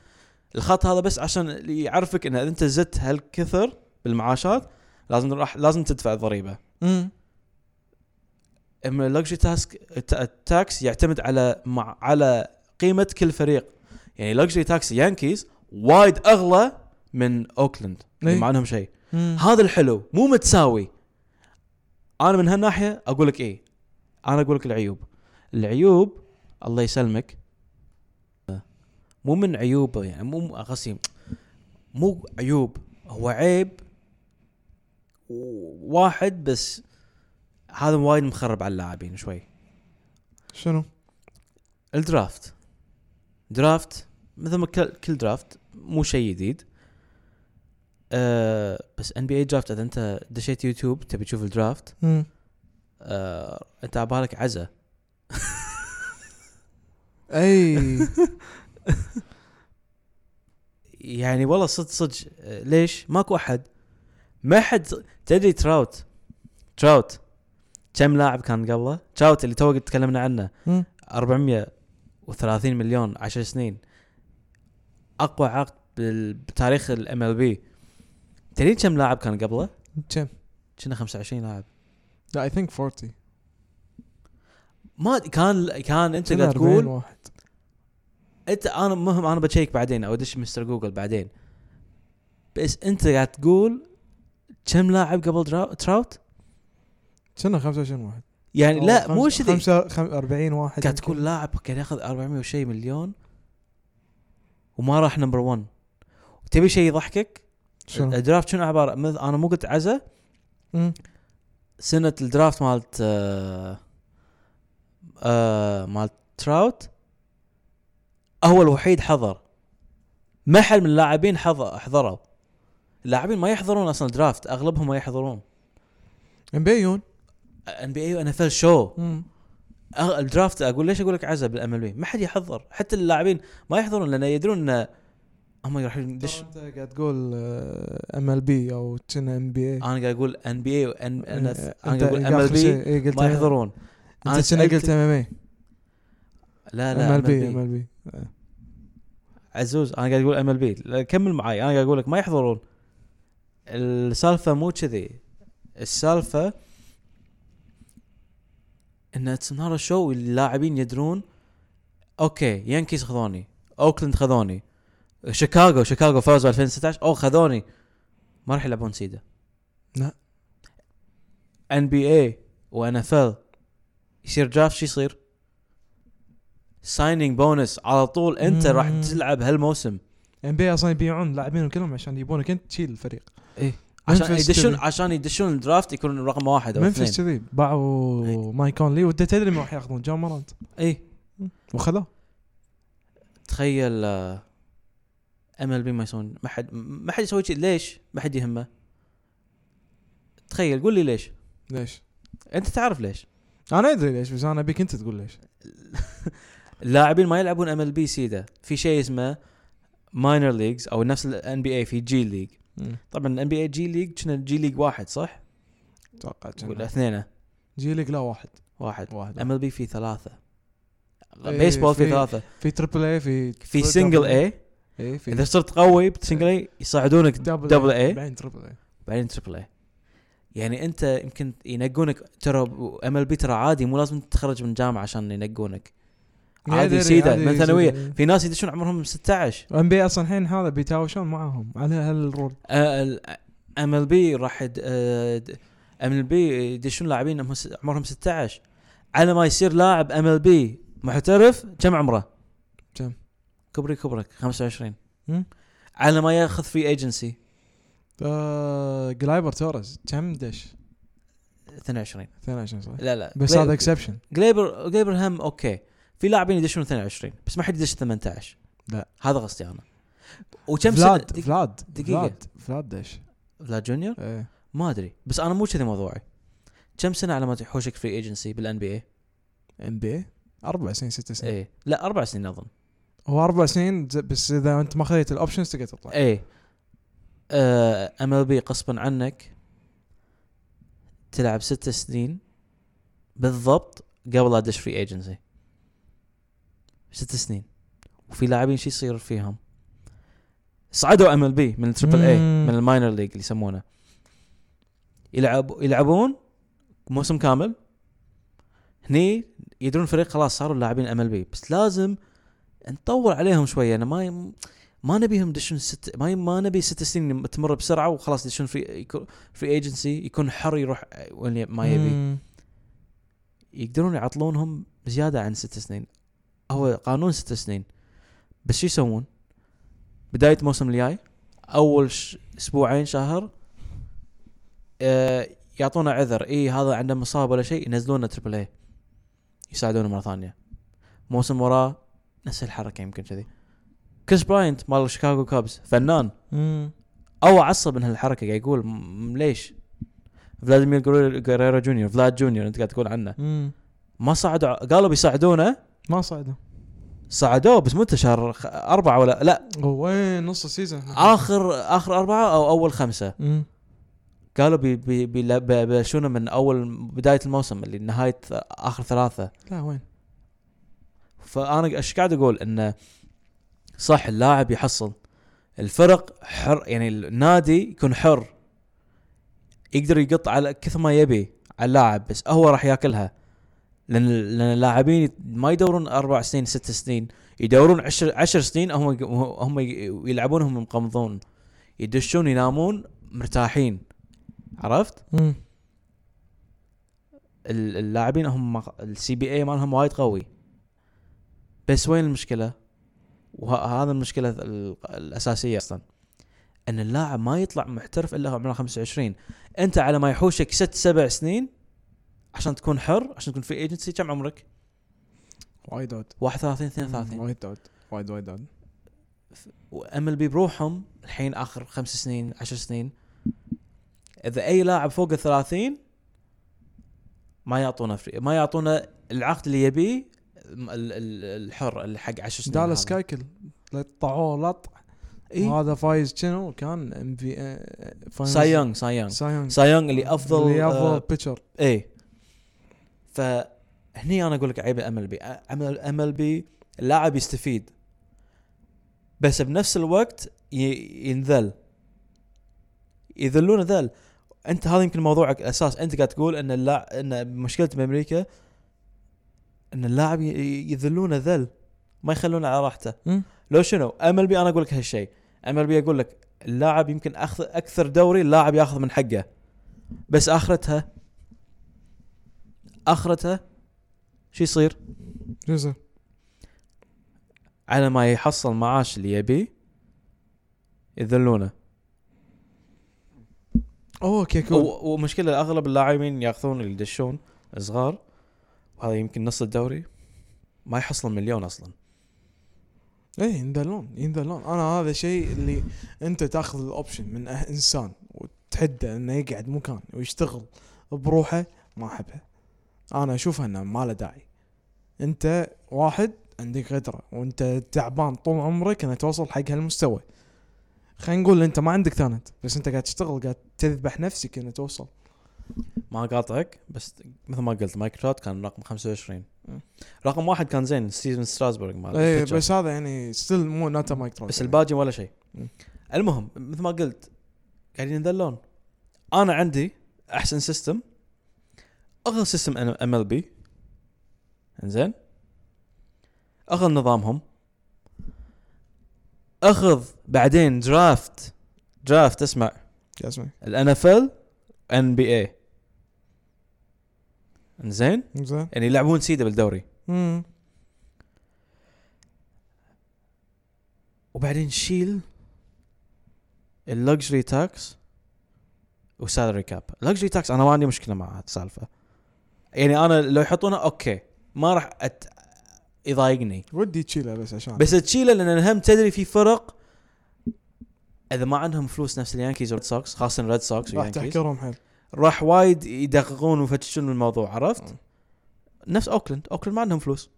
الخط هذا بس عشان يعرفك ان اذا انت زدت هالكثر بالمعاشات لازم راح لازم تدفع ضريبه
مم.
اما اللكجري تاسك التاكس يعتمد على مع على قيمه كل فريق يعني لكجري تاكس يانكيز وايد اغلى من اوكلاند اللي
إيه.
ما عندهم شيء
مم.
هذا الحلو مو متساوي انا من هالناحيه اقول لك ايه انا اقول لك العيوب العيوب الله يسلمك مو من عيوبه يعني مو قصدي مو عيوب هو عيب واحد بس هذا وايد مخرب على اللاعبين شوي
شنو؟
الدرافت درافت مثل ما كل كل درافت مو شيء جديد أه بس ان بي اي درافت اذا انت دشيت يوتيوب تبي تشوف الدرافت
مم.
أه انت عبالك عزة
اي
يعني والله صدق صدق آه، ليش؟ ماكو احد ما حد تدري تراوت تراوت كم لاعب كان قبله؟ تراوت اللي تو تكلمنا عنه
مم.
430 مليون 10 سنين اقوى عقد بال- بتاريخ الام ال بي تدري كم لاعب كان قبله؟
كم؟
كنا 25 لاعب
لا اي ثينك 40
ما كان كان انت
كنا
قاعد
40
تقول
واحد
انت انا مهم انا بشيك بعدين او ادش مستر جوجل بعدين بس انت قاعد تقول كم لاعب قبل درا- تراوت؟
كنا 25 واحد
يعني لا مو
خمسة-
كذي
خمسة- خم- 40 واحد
قاعد
يمكن.
تقول لاعب كان ياخذ 400 وشي مليون وما راح نمبر 1 تبي شيء يضحكك
شنو؟
الدرافت شنو عباره مث- انا مو قلت عزة
مم.
سنه الدرافت مالت آه آه مالت تراوت هو الوحيد حضر ما حد من اللاعبين حضر حضروا اللاعبين ما يحضرون اصلا درافت اغلبهم ما يحضرون
مبيون
ان بي اي وان اف ال شو
مم.
أغ- الدرافت اقول ليش اقول لك عزب الام ال بي ما حد يحضر حتى اللاعبين ما يحضرون لان يدرون ان هم راح
ليش
يدش
انت قاعد تقول ام ال بي او كنا ام بي إيه. اي
انا قاعد اقول ان بي اي انا قاعد اقول ام ال بي
بي
ما يحضرون أنا
انت كنا
سألت-
قلت ام ام اي
لا لا
ام ال بي ام
MLB.
ال بي
عزوز انا قاعد اقول ام ال بي كمل معي انا قاعد اقول لك ما يحضرون السالفه مو كذي السالفه ان اتس نهار الشو اللاعبين يدرون اوكي يانكيز خذوني اوكلاند خذوني شيكاغو شيكاغو فازوا 2016 او خذوني ما راح يلعبون سيدا
لا.
ان بي اي وان اف ال يصير درافت شو يصير؟ سايننج بونس على طول انت راح
مم.
تلعب هالموسم
ام بي اصلا يبيعون لاعبينهم كلهم عشان يبونك انت تشيل الفريق
إيه. عشان
منفس
يدشون
كذي.
عشان يدشون الدرافت يكون رقم واحد او اثنين
منفس كذي
إيه.
باعوا مايك اونلي وانت تدري ما راح ياخذون جون مورانت
اي
وخذوه
إيه. تخيل ام ال بي ما يسوون ما حد ما حد يسوي شيء ليش؟ ما حد يهمه تخيل قول لي ليش؟
ليش؟
انت تعرف ليش؟
انا ادري ليش بس انا ابيك انت تقول ليش
اللاعبين ما يلعبون ام ال بي سيدا في شيء اسمه ماينر ليجز او نفس الان بي اي في جي ليج طبعا الان بي اي جي ليج كنا جي ليج واحد صح؟
اتوقع كنا.
ولا اثنين
جيلك لا واحد
واحد
واحد
ام ال بي في ثلاثه
إيه،
بيسبول في
في-
ثلاثه
في تربل اي في
في سنجل اي
اي في
اذا صرت قوي بسنجل اي يساعدونك دبل اي
بعدين تربل اي
بعدين تربل اي يعني انت يمكن ينقونك ترى ام ال بي ترى عادي مو لازم تتخرج من جامعه عشان ينقونك عادي سيدة، من ثانوية. في ناس يدشون عمرهم 16
ام بي اصلا الحين هذا بيتهاوشون معاهم على هالرول
ام ال بي راح ام ال بي يدشون لاعبين عمرهم س- عمرهم 16 على ما يصير لاعب ام ال بي محترف كم عمره؟
كم؟
كبري كبرك 25
مم.
على ما ياخذ فري ايجنسي
آه، جلايبر توريز كم دش؟
22
22 صح؟
لا لا
بس
جلي-
هذا اكسبشن
جليبر جليبر هم اوكي في لاعبين يدشون 22 بس ما حد يدش 18
لا.
هذا قصدي انا وكم سنه
فلاد
دق-
فلاد
دقيقة.
فلاد فلاد دش
فلاد جونيور
إيه.
ما ادري بس انا مو كذي موضوعي كم سنه على ما تحوشك فري ايجنسي بالان بي اي؟
ام بي اربع سنين ست سنين
اي إيه. لا اربع سنين اظن
هو اربع سنين ز- بس اذا انت ما خذيت الاوبشنز تقدر تطلع
اي ام ال بي غصبا عنك تلعب ست سنين بالضبط قبل لا ادش فري ايجنسي ست سنين وفي لاعبين شو يصير فيهم؟ صعدوا ام ال بي من التربل اي
مم.
من الماينر ليج اللي يسمونه يلعب يلعبون موسم كامل هني يدرون فريق خلاص صاروا لاعبين ام ال بي بس لازم نطول عليهم شويه انا ما ي- ما نبيهم يدشون ست ما ي- ما نبي ست سنين تمر بسرعه وخلاص يدشون في في ايجنسي يكون حر يروح وين ما يبي
مم.
يقدرون يعطلونهم زياده عن ست سنين هو قانون ست سنين بس شو يسوون؟ بدايه موسم الجاي اول ش... اسبوعين شهر آه يعطونا عذر اي هذا عنده مصاب ولا شيء ينزلونا تربل اي يساعدونه مره ثانيه موسم وراه نفس الحركه يمكن كذي كريس براينت مال شيكاغو كابز فنان
مم.
او عصب من هالحركه قاعد يقول م- ليش فلاديمير جوري- جريرو جونيور فلاد جونيور انت قاعد تقول عنه
مم.
ما صعدوا قالوا بيساعدونه
ما صعدوا
صعدوه بس مو أنت شهر خ- أربعة ولا لا
وين نص السيزون
آخر آخر أربعة أو أول خمسة
مم.
قالوا بي بي بي- بيبلشونه من أول بداية الموسم اللي نهاية ث- آخر ثلاثة
لا وين
فأنا إيش قاعد أقول إنه صح اللاعب يحصل الفرق حر يعني النادي يكون حر يقدر يقط على كثر ما يبي على اللاعب بس هو راح ياكلها لان لان اللاعبين ما يدورون اربع سنين ست سنين يدورون عشر عشر سنين هم هم يلعبون هم مقمضون يدشون ينامون مرتاحين عرفت؟
مم.
ال- اللاعبين هم السي بي اي مالهم وايد قوي بس وين المشكله؟ وهذا المشكله ال- الاساسيه اصلا ان اللاعب ما يطلع محترف الا عمره 25 انت على ما يحوشك ست سبع سنين عشان تكون حر عشان تكون في ايجنسي كم عمرك؟
وايد اوت
31 32
وايد اوت وايد وايد اوت
وام ال بي بروحهم الحين اخر خمس سنين عشر سنين اذا اي لاعب فوق ال 30 ما يعطونا فري ما يعطونا العقد اللي يبيه ال- ال- الحر اللي حق 10 سنين
دالاس
هذا. إيه؟
كايكل طعوه لط
إي.
وهذا فايز شنو كان ام في
ساي يونغ ساي يونغ
سايونج
ساي يونغ اللي افضل
آه، اللي
آه،
افضل بيتشر
ايه فهني انا اقول لك عيب ام ال بي ام ال بي اللاعب يستفيد بس بنفس الوقت ي- ينذل يذلون ذل انت هذا يمكن موضوعك الاساس انت قاعد تقول ان اللاعب ان مشكله بامريكا ان اللاعب ي- ي- يذلونه ذل ما يخلونه على راحته لو شنو ام ال بي انا اقول لك هالشيء ام ال بي اقول لك اللاعب يمكن اخذ اكثر دوري اللاعب ياخذ من حقه بس اخرتها اخرتها شو يصير؟
شو يصير؟
على ما يحصل معاش اللي يبيه يذلونه
اوه كيكو
و- ومشكله اغلب اللاعبين ياخذون اللي يدشون صغار وهذا يمكن نص الدوري ما يحصلون مليون اصلا
ايه ينذلون ينذلون انا هذا شيء اللي انت تاخذ الاوبشن من أه- انسان وتحده انه يقعد مكان ويشتغل بروحه ما احبها انا اشوفها انه ما له داعي انت واحد عندك غدره وانت تعبان طول عمرك انك توصل حق هالمستوى خلينا نقول انت ما عندك تالنت بس انت قاعد تشتغل قاعد تذبح نفسك انك توصل
ما قاطعك بس مثل ما قلت مايك تراوت كان رقم 25
مم.
رقم واحد كان زين ستيفن ستراسبرغ مال
ايه
الفجر.
بس هذا يعني ستيل مو ناتا مايك تراوت
بس
يعني.
الباجي ولا شيء
مم.
المهم مثل ما قلت قاعدين ينذلون انا عندي احسن سيستم اغلى سيستم ام ال بي انزين اخذ نظامهم اخذ بعدين درافت درافت اسمع
يا اسمعي
الان اف ال ان بي اي انزين
زين
يعني يلعبون سيده بالدوري
مم.
وبعدين شيل اللكجري تاكس وسالري كاب اللكجري تاكس انا ما عندي مشكله مع هالسالفه يعني انا لو يحطونها اوكي ما راح أت... يضايقني
ودي تشيله بس عشان
بس تشيله لان هم تدري في فرق اذا ما عندهم فلوس نفس اليانكيز والريد سوكس خاصه الريد سوكس
راح
واليانكيز
تحكرهم حيل
راح وايد يدققون ويفتشون من الموضوع عرفت؟
م.
نفس اوكلاند اوكلاند ما عندهم فلوس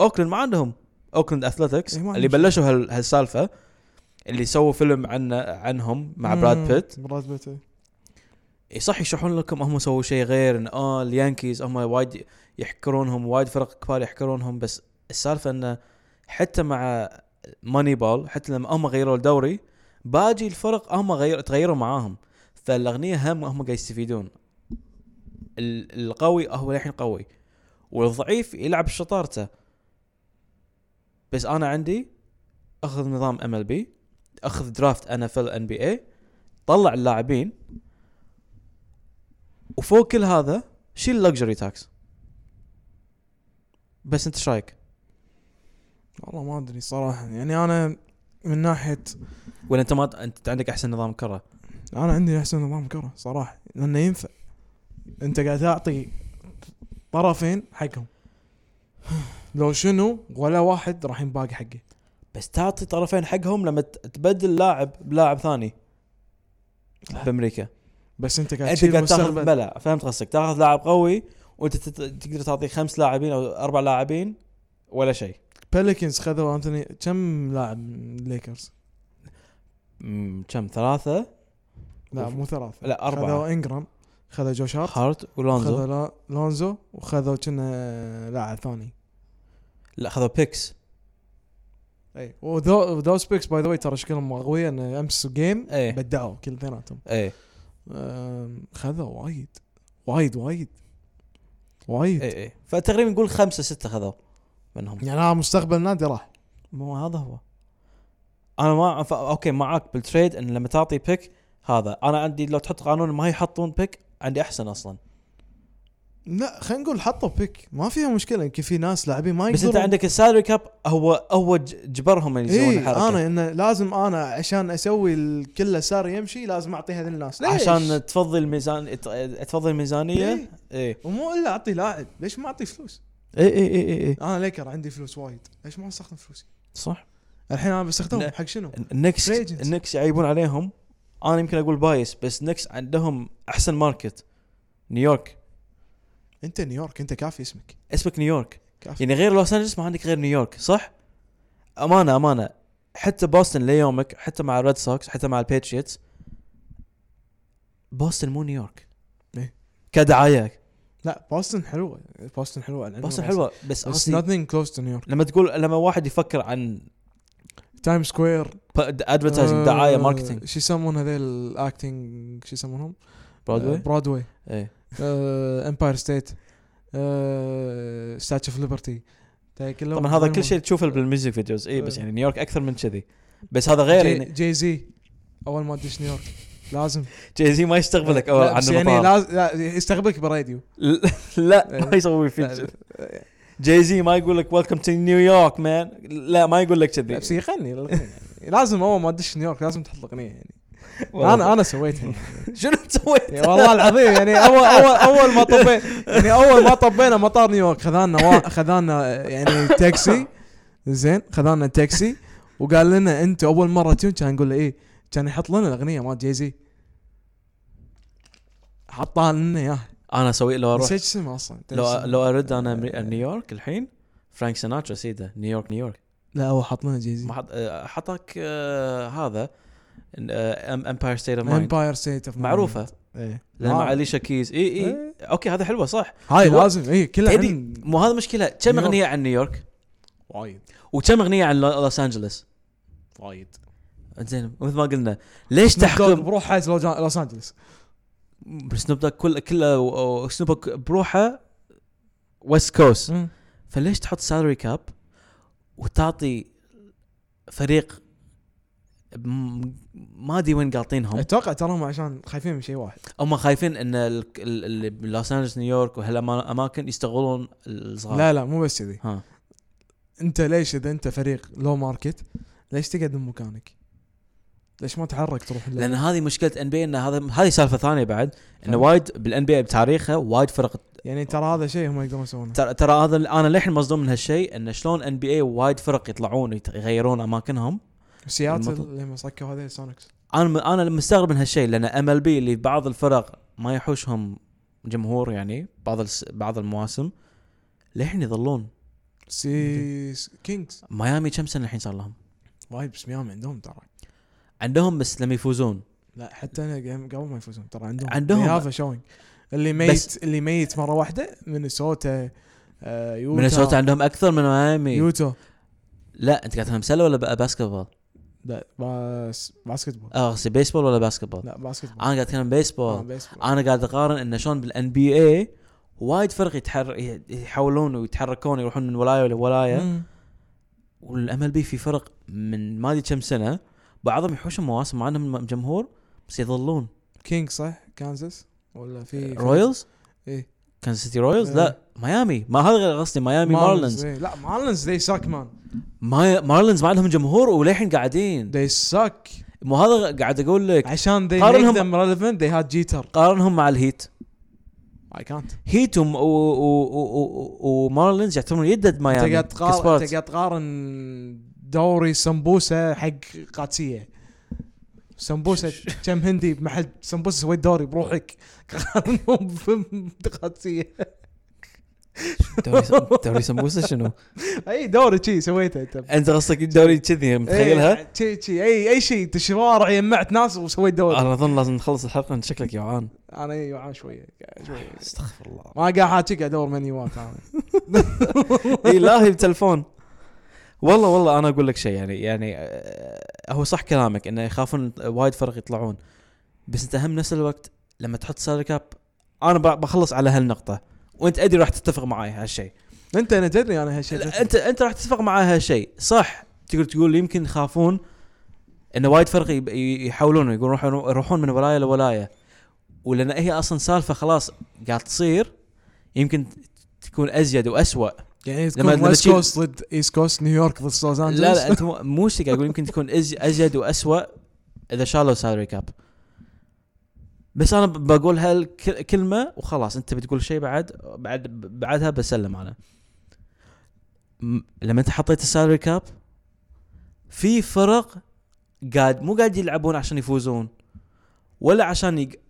اوكلاند ما عندهم اوكلاند اثلتكس
إيه، ما
اللي
عندهم
بلشوا هال- هالسالفه اللي سووا فيلم عن عنهم مع
مم.
براد بيت
براد بيت إيه.
إي إيه، صح يشرحون لكم هم سووا شيء غير ان اه اليانكيز هم وايد يحكرونهم وايد فرق كبار يحكرونهم بس السالفه انه حتى مع ماني بال حتى لما هم غيروا الدوري باجي الفرق هم غير تغيروا معاهم فالاغنياء هم هم قاعد يستفيدون ال- القوي هو الحين قوي والضعيف يلعب بشطارته بس انا عندي اخذ نظام ام ال بي اخذ درافت ان اف ال ان بي اي طلع اللاعبين وفوق كل هذا شيل اللكجري تاكس بس انت ايش رايك؟
والله ما ادري صراحه يعني انا من ناحيه
ولا انت ما انت عندك احسن نظام كره
انا عندي احسن نظام كره صراحه لانه ينفع انت قاعد تعطي طرفين حقهم لو شنو ولا واحد راح ينباقي حقه
بس تعطي طرفين حقهم لما ت- تبدل لاعب بلاعب ثاني بامريكا
بس انت قاعد
انت
تشيل
قاعد تاخذ
مستقبل
بلا فهمت قصدك تاخذ لاعب قوي وانت تت- تقدر تعطي خمس لاعبين او اربع لاعبين ولا شيء
بليكنز خذوا انتوني كم لاعب من الليكرز؟
أمم، كم ثلاثه
لا
أوف.
مو ثلاثه
لا، أربعة.
خذوا انجرام خذوا جوش هارت
هارت ولونزو
خذوا لا- لونزو وخذوا كنا لاعب ثاني
لا خذوا بيكس
اي إيه. وذو ذو سبيكس باي ذا واي ترى شكلهم اغوياء ان امس جيم
إيه.
بدعوا كل اثنيناتهم
ايه
أم، خذوا وايد وايد وايد وايد
ايه ايه فتقريبا نقول خمسه سته خذوا منهم
يعني انا مستقبل نادي راح
مو هذا هو انا ما ف... اوكي معك بالتريد ان لما تعطي بيك هذا انا عندي لو تحط قانون ما يحطون بيك عندي احسن اصلا
لا خلينا نقول حطوا بيك ما فيها مشكله يمكن في ناس لاعبين ما
بس
يقدرون
انت عندك السالري كاب هو هو ج- جبرهم ان يسوون
إيه
الحركه
انا انه لازم انا عشان اسوي ال- كل صار يمشي لازم اعطي هذول الناس ليش؟
عشان تفضي الميزان ت- تفضي الميزانيه
إيه. إيه،
اي
ومو الا اعطي لاعب ليش ما اعطي فلوس؟
اي اي اي اي
انا ليكر عندي فلوس وايد ليش ما استخدم فلوسي؟
صح
الحين انا بستخدمهم
لا.
حق شنو؟
النكس
Free agents.
النكس يعيبون عليهم انا يمكن اقول بايس بس نكس عندهم احسن ماركت نيويورك
انت نيويورك انت كافي اسمك
اسمك نيويورك
كافي
يعني غير لوس انجلس ما عندك غير نيويورك صح؟ امانه امانه حتى بوسطن ليومك حتى مع الريد سوكس حتى مع البيتشيتس بوسطن مو نيويورك
إيه.
كدعايه
لا بوسطن حلوه بوسطن حلوه العنوان
بوسطن حلوه بس
بس
قصدي
nothing close to نيويورك
لما تقول لما واحد يفكر عن
تايم سكوير آه،
ادفرتايزنج دعايه ماركتينج
شو يسمون هذيل الاكتنج شو يسمونهم؟ آه،
برودواي
برودواي
ايه
امباير ستيت ستاتش اوف ليبرتي
طبعا هذا كل شيء تشوفه بالميوزك فيديوز اي بس
آه.
يعني نيويورك اكثر من كذي بس هذا غير يعني
جي زي اول ما ادش نيويورك لازم
جاي زي ما يستقبلك اول
لا،
عن
بس يعني
المطار
لازم لا يستقبلك براديو
لا, لا
إيه.
ما يسوي فيك
لا،
كذي. جاي زي ما يقول لك ويلكم تو نيويورك مان لا ما يقول لك
لا، بس
كذي
يغني الأغنية. لازم اول ما ادش نيويورك لازم تحط الاغنيه يعني انا انا سويتها يعني.
شنو سويت؟
يعني والله العظيم يعني اول اول اول ما طبينا يعني اول ما طبينا مطار نيويورك خذانا وا- خذانا يعني تاكسي زين خذانا تاكسي وقال لنا انت اول مره تجون كان نقول له ايه كان يحط لنا الاغنيه مال جيزي حطها لنا اياها
انا اسوي لو اروح
نسيت اسمها اصلا
لو لو ارد انا م- نيويورك الحين فرانك سيناترا سيده نيويورك نيويورك
لا هو حط لنا جيزي
ما حط آه، حطك آه، هذا آه، امباير ستيت اوف مايند
امباير ستيت اوف
معروفه لما مع اليشا كيز اي اي
إيه.
اوكي هذا حلوه صح
هاي
هو-
لازم اي كلها
تدري-
عن-
مو هذا مشكله كم
نيويورك.
اغنيه عن نيويورك
وايد
وكم اغنيه عن لو- لوس انجلس
وايد
زين مثل ما قلنا ليش
تحكم
تحكم
بروح حاز لوجا- لوس انجلس
سنوب دوغ كل كله سنوب دوغ بروحه ويست كوست فليش تحط سالري كاب وتعطي فريق م- ما ادري وين قاطينهم
اتوقع تراهم عشان خايفين من شيء واحد
هم خايفين ان ال- ال- ال- لوس انجلس نيويورك وهالاماكن يستغلون الصغار
لا لا مو بس كذي
ها
انت ليش اذا انت فريق لو ماركت ليش تقعد من مكانك؟ ليش ما تحرك تروح اللعب؟
لان هذه مشكله ان بي ان هذا هذه سالفه ثانيه بعد انه
فهمت.
وايد بالان بي بتاريخه وايد فرق
يعني ترى هذا شيء هم يقدرون يسوونه
ترى ترى هذا انا للحين مصدوم من هالشيء انه شلون ان بي اي وايد فرق يطلعون ويت- يغيرون اماكنهم المطلوب.
سياتل لما صكوا هذول سونكس
انا انا مستغرب من هالشيء لان ام ال بي اللي بعض الفرق ما يحوشهم جمهور يعني بعض الس... بعض المواسم للحين يظلون
سي س- كينجز
ميامي كم سنه الحين صار لهم
وايد بس ميامي عندهم ترى
عندهم بس لما يفوزون
لا حتى انا قبل- قبل ما يفوزون ترى عندهم
عندهم.
هذا شوينج اللي
بس-
ميت اللي ميت مره واحده مينيسوتا آه، يوتا
مينيسوتا عندهم اكثر من ميامي
يوتا
لا انت قاعد تفهم سله ولا ب- باسكتبول؟
لا بس باسكت بول
اه قصدي بيسبول ولا باسكتبول؟
لا باسكت بول
انا قاعد اتكلم
آه،
بيسبول
بيسبول.
انا قاعد اقارن انه شلون بالان بي اي وايد فرق يتحر ي- يحولون ويتحركون يروحون من ولايه لولايه
مم.
والام ال بي في فرق من ما ادري كم سنه بعضهم يحوشون مواسم مع انهم جمهور بس يظلون
كينج صح كانزاس ولا إيه، في
رويالز
ايه
كان سيتي رويالز لا ميامي ما هذا غير قصدي ميامي مارلينز
إيه. لا مارلنز ذي ساك مان
ماي- مارلينز ما عندهم جمهور وللحين قاعدين
ذي ساك
مو هذا قاعد اقول لك
عشان ذي
قارنهم-
ميك ذم ريليفنت ذي هاد جيتر
قارنهم مع الهيت
اي كانت
هيت وم- و- و- و- و- ومارلينز يعتبرون يدد
انت
ميامي
قاعد تقارن
كسبارت.
انت قاعد تقارن دوري سمبوسه حق قادسيه سمبوسه كم هندي بمحل سمبوسه سويت دوري بروحك قارنهم بقادسيه
دوري- دوري سمبوسه شنو؟
اي دوري شي سويته انت
انت قصدك الدوري كذي متخيلها؟
إيه، شي شي اي اي شيء أنت شوارع جمعت ناس وسويت دوري
انا اظن لازم نخلص الحلقه انت شكلك جوعان
انا جوعان شويه شويه
استغفر الله
ما قاعد احاكيك ادور منيوات انا
اي لاهي إيه، بتلفون والله والله انا اقول لك شيء يعني يعني آه، هو صح كلامك انه يخافون وايد فرق يطلعون بس انت هم نفس الوقت لما تحط سالري كاب انا ب- بخلص على هالنقطه وانت ادري راح تتفق معي هالشيء
انت انا تدري انا هالشيء
لا، انت انت راح تتفق معي هالشيء صح تقدر تقول يمكن يخافون انه وايد فرق يب- ي- يحاولون يقولون روحوا- يروحون من ولايه لولايه ولان هي اصلا سالفه خلاص قاعد تصير يمكن تكون ازيد واسوأ
يعني
لما-
تكون
لما
ويست
تشيل-
كوست ضد ايست كوست نيويورك ضد لوس انجلوس
لا لا انت مو- مو شيء قاعد اقول يمكن تكون أز- ازيد واسوء اذا شالوا سالري كاب بس انا ب- بقول هالكلمه وخلاص انت بتقول شيء بعد بعد بعدها بسلم انا م- لما انت حطيت السالري كاب في فرق قاعد مو قاعد يلعبون عشان يفوزون ولا عشان يق-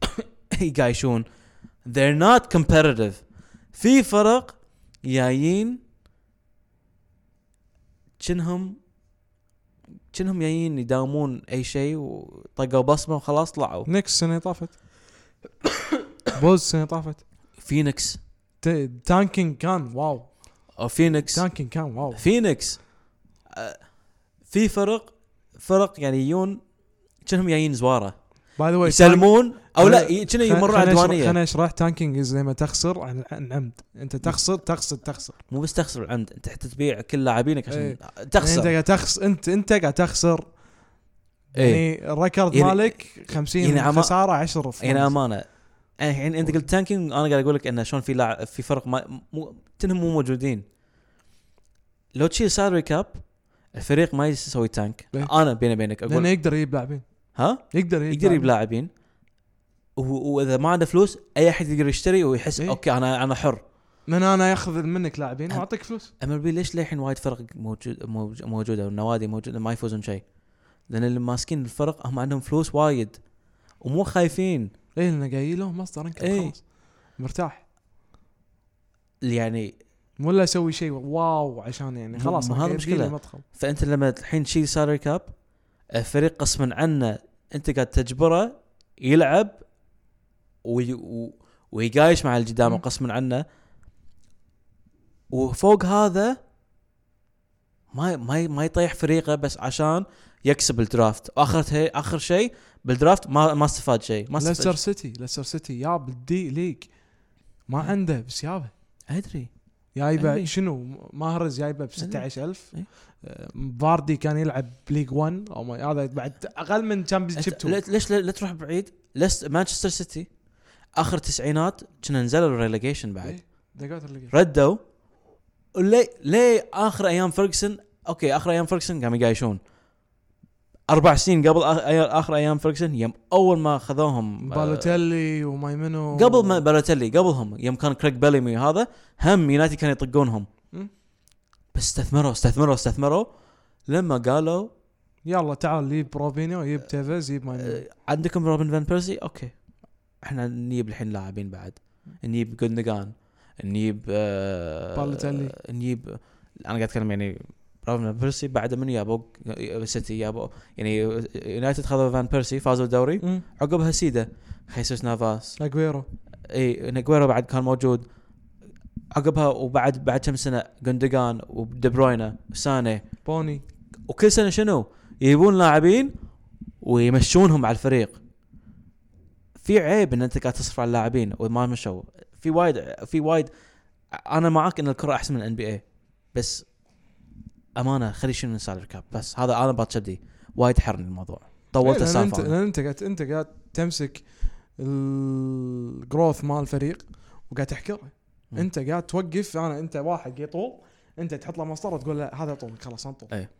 يقايشون they're not competitive في فرق جايين كأنهم كأنهم جايين يداومون اي شيء وطقوا بصمه وخلاص طلعوا
نكس السنه طافت بوز السنه طافت
فينيكس
ت- تانكينج كان واو
او فينيكس
تانكينج كان واو
فينيكس آه، في فرق فرق يعني يجون كأنهم جايين زواره
باي ذا واي
يسلمون او لا
خل-
ي- كأنه يمرون على الديوانيه
خليني اشرح تانكينج از لما تخسر عن عن عمد انت تخسر تقصد تخسر يعني
مو بس تخسر العمد انت حتى تبيع كل لاعبينك عشان
إيه. يعني انت
تخسر
قاعد تخسر انت انت قاعد تخسر
ايه
يعني الريكورد
يعني-
مالك 50
يعني
يعني
عما-
خساره 10 في
يعني
فوز.
امانه الحين انت قلت تانكينج انا قاعد اقول لك انه شلون في لاعب في فرق ما مو تنهم مو موجودين لو تشيل سالري كاب الفريق ما يسوي تانك
إيه.
انا بيني بينك
لانه
اقول
يقدر يجيب لاعبين
ها
يقدر يجيب
يقدر يجيب
لاعبين.
لاعبين و- واذا ما عنده فلوس اي احد يقدر يشتري ويحس
إيه.
اوكي انا انا حر
من انا اخذ منك لاعبين
أه.
واعطيك فلوس
ام بي ليش للحين وايد فرق موجود موج- موجوده والنوادي موجوده ما يفوزون شيء لان اللي ماسكين الفرق هم عندهم فلوس وايد ومو خايفين
اي لانه جاي له مصدر انكم
إيه.
خلاص مرتاح
يعني
ولا اسوي شيء واو عشان يعني
مو-
خلاص
مو
أنا
هذا
جايب لي
مشكلة.
مدخل
فانت لما الحين تشيل سالري كاب الفريق قسما عنه انت قاعد تجبره يلعب وي و- ويقايش مع اللي قدامه
مم.
قسما عنه وفوق هذا ما ما ما يطيح فريقه بس عشان يكسب الدرافت واخر اخر شيء بالدرافت ما ما استفاد شيء ما استفاد
ليستر سيتي ليستر سيتي ياب الدي ليج ما
إيه.
عنده بس يابه
ادري
جايبه
أدري.
شنو ماهرز جايبه ب 16000
إيه.
آه، فاردي كان يلعب بليج 1 او ما- هذا بعد اقل من تشامبيون شيب
أنت
2
لا- ليش لا, لا تروح بعيد لست مانشستر سيتي اخر تسعينات كنا نزلوا الريليجيشن بعد
إيه، دقات اللي قبل.
ردوا ليه ليه اخر ايام فيرجسون اوكي اخر ايام فيرجسون قاموا يقايشون اربع سنين قبل آخر, اخر ايام فيرجسون يوم اول ما خذوهم آه،
بالوتيلي ومايمنو
قبل ما بالوتيلي قبلهم يوم كان كريك بيليمي هذا هم يونايتد كانوا يطقونهم
مم.
بس استثمروا استثمروا استثمروا لما قالوا
يلا تعال جيب روبينيو
إيه.
جيب تيفيز جيب مايمنو
آه، عندكم روبن فان بيرسي اوكي احنا نجيب الحين لاعبين بعد نجيب جوندوجان نجيب آه
بالوتيلي.
نجيب انا قاعد اتكلم يعني روبن فان بيرسي بعد من يابو سيتي يابو يعني يونايتد خذوا فان بيرسي فازوا الدوري
مم.
عقبها سيدا خيسوس نافاس
اجويرو
اي نجويرو بعد كان موجود عقبها وبعد بعد كم سنه جوندوجان ودي بروينا وساني
بوني
وكل سنه شنو؟ يجيبون لاعبين ويمشونهم على الفريق. في عيب ان انت قاعد تصرف على اللاعبين وما مشوا، في وايد في وايد انا معاك ان الكره احسن من الان بي اي بس امانه خلي شنو من سالري كاب بس هذا انا باتشدي وايد حرني الموضوع طولت
إيه، لأن انت
السالفه أنا.
لان انت قاعد انت قاعد تمسك الجروث مال الفريق وقاعد تحكره
مم.
انت قاعد توقف انا انت واحد يطول انت تحط له مسطره تقول له هذا طول خلاص انطول
إيه.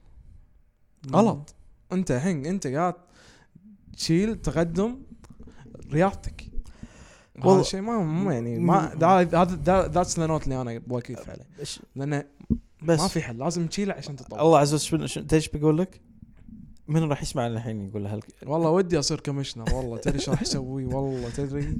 غلط. انت الحين انت قاعد تشيل تقدم رياضتك
والله-
والله شيء ما مو يعني ما دا- هذا ذاتس ذا نوت اللي انا واقف عليه
إيش-
لانه
بس
ما في حل لازم تشيله عشان تطور
الله عز وجل شنو- تدري ايش بقول لك؟ من راح يسمع الحين يقول له هالك-
والله ودي اصير كوميشنر والله تدري شو راح اسوي والله تدري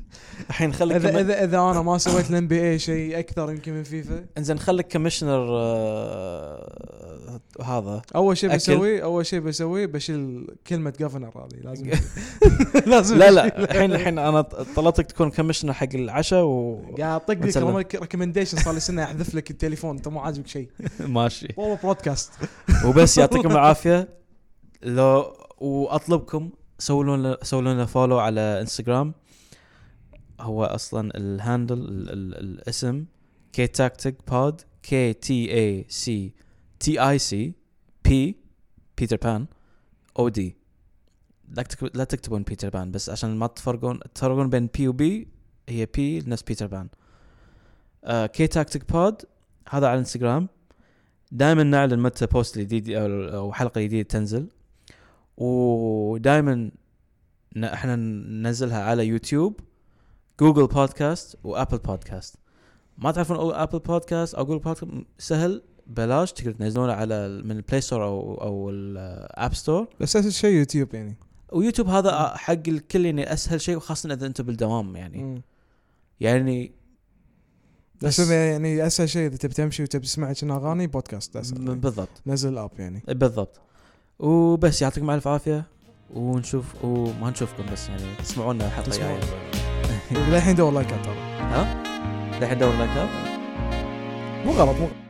الحين خليك
اذا
لما-
اذا اذا انا ما سويت الان بي اي شيء اكثر يمكن من فيفا
انزين خليك كوميشنر آه، هذا
اول شيء
أكل.
بسويه اول شيء بسويه بشيل كلمه جفنر هذه لازم لازم
لا لا
أشيلها.
الحين الحين انا طلبتك تكون كوميشنر حق العشاء و
قاعد اطق لك
نسلم.
ريكومنديشن صار لي سنه احذف لك التليفون انت مو عاجبك شيء
ماشي
والله برودكاست
وبس يعطيكم العافيه لو واطلبكم سووا لنا سووا لنا فولو على انستغرام هو اصلا الهاندل ال- ال- الاسم كي تاكتيك بود كي تي اي سي تي اي سي بي بيتر بان او دي لا تكتب- لا تكتبون بيتر بان بس عشان ما تفرقون تفرقون بين بي وبي هي بي نفس بيتر بان كي تاكتيك بود هذا على الانستغرام دائما نعلن متى بوست جديد او أو حلقه جديده تنزل ودائما احنا ننزلها على يوتيوب جوجل بودكاست وابل بودكاست ما تعرفون أو- ابل بودكاست او جوجل بودكاست م- سهل بلاش تقدر تنزلونه على ال- من البلاي ستور او او الاب ستور
بس اساس شيء يوتيوب يعني
ويوتيوب هذا حق الكل يعني اسهل شيء وخاصه اذا انتم بالدوام يعني
مم.
يعني
بس إذا يعني اسهل شيء اذا تبي تمشي وتبي تسمع كنا اغاني بودكاست اسهل يعني.
بالضبط
نزل الاب يعني
بالضبط وبس يعطيكم الف عافيه ونشوف وما نشوفكم بس يعني تسمعونا الحلقه
تسمعون.
الجايه
للحين دور لايكات ترى
ها؟ للحين دور لايكات
مو غلط مو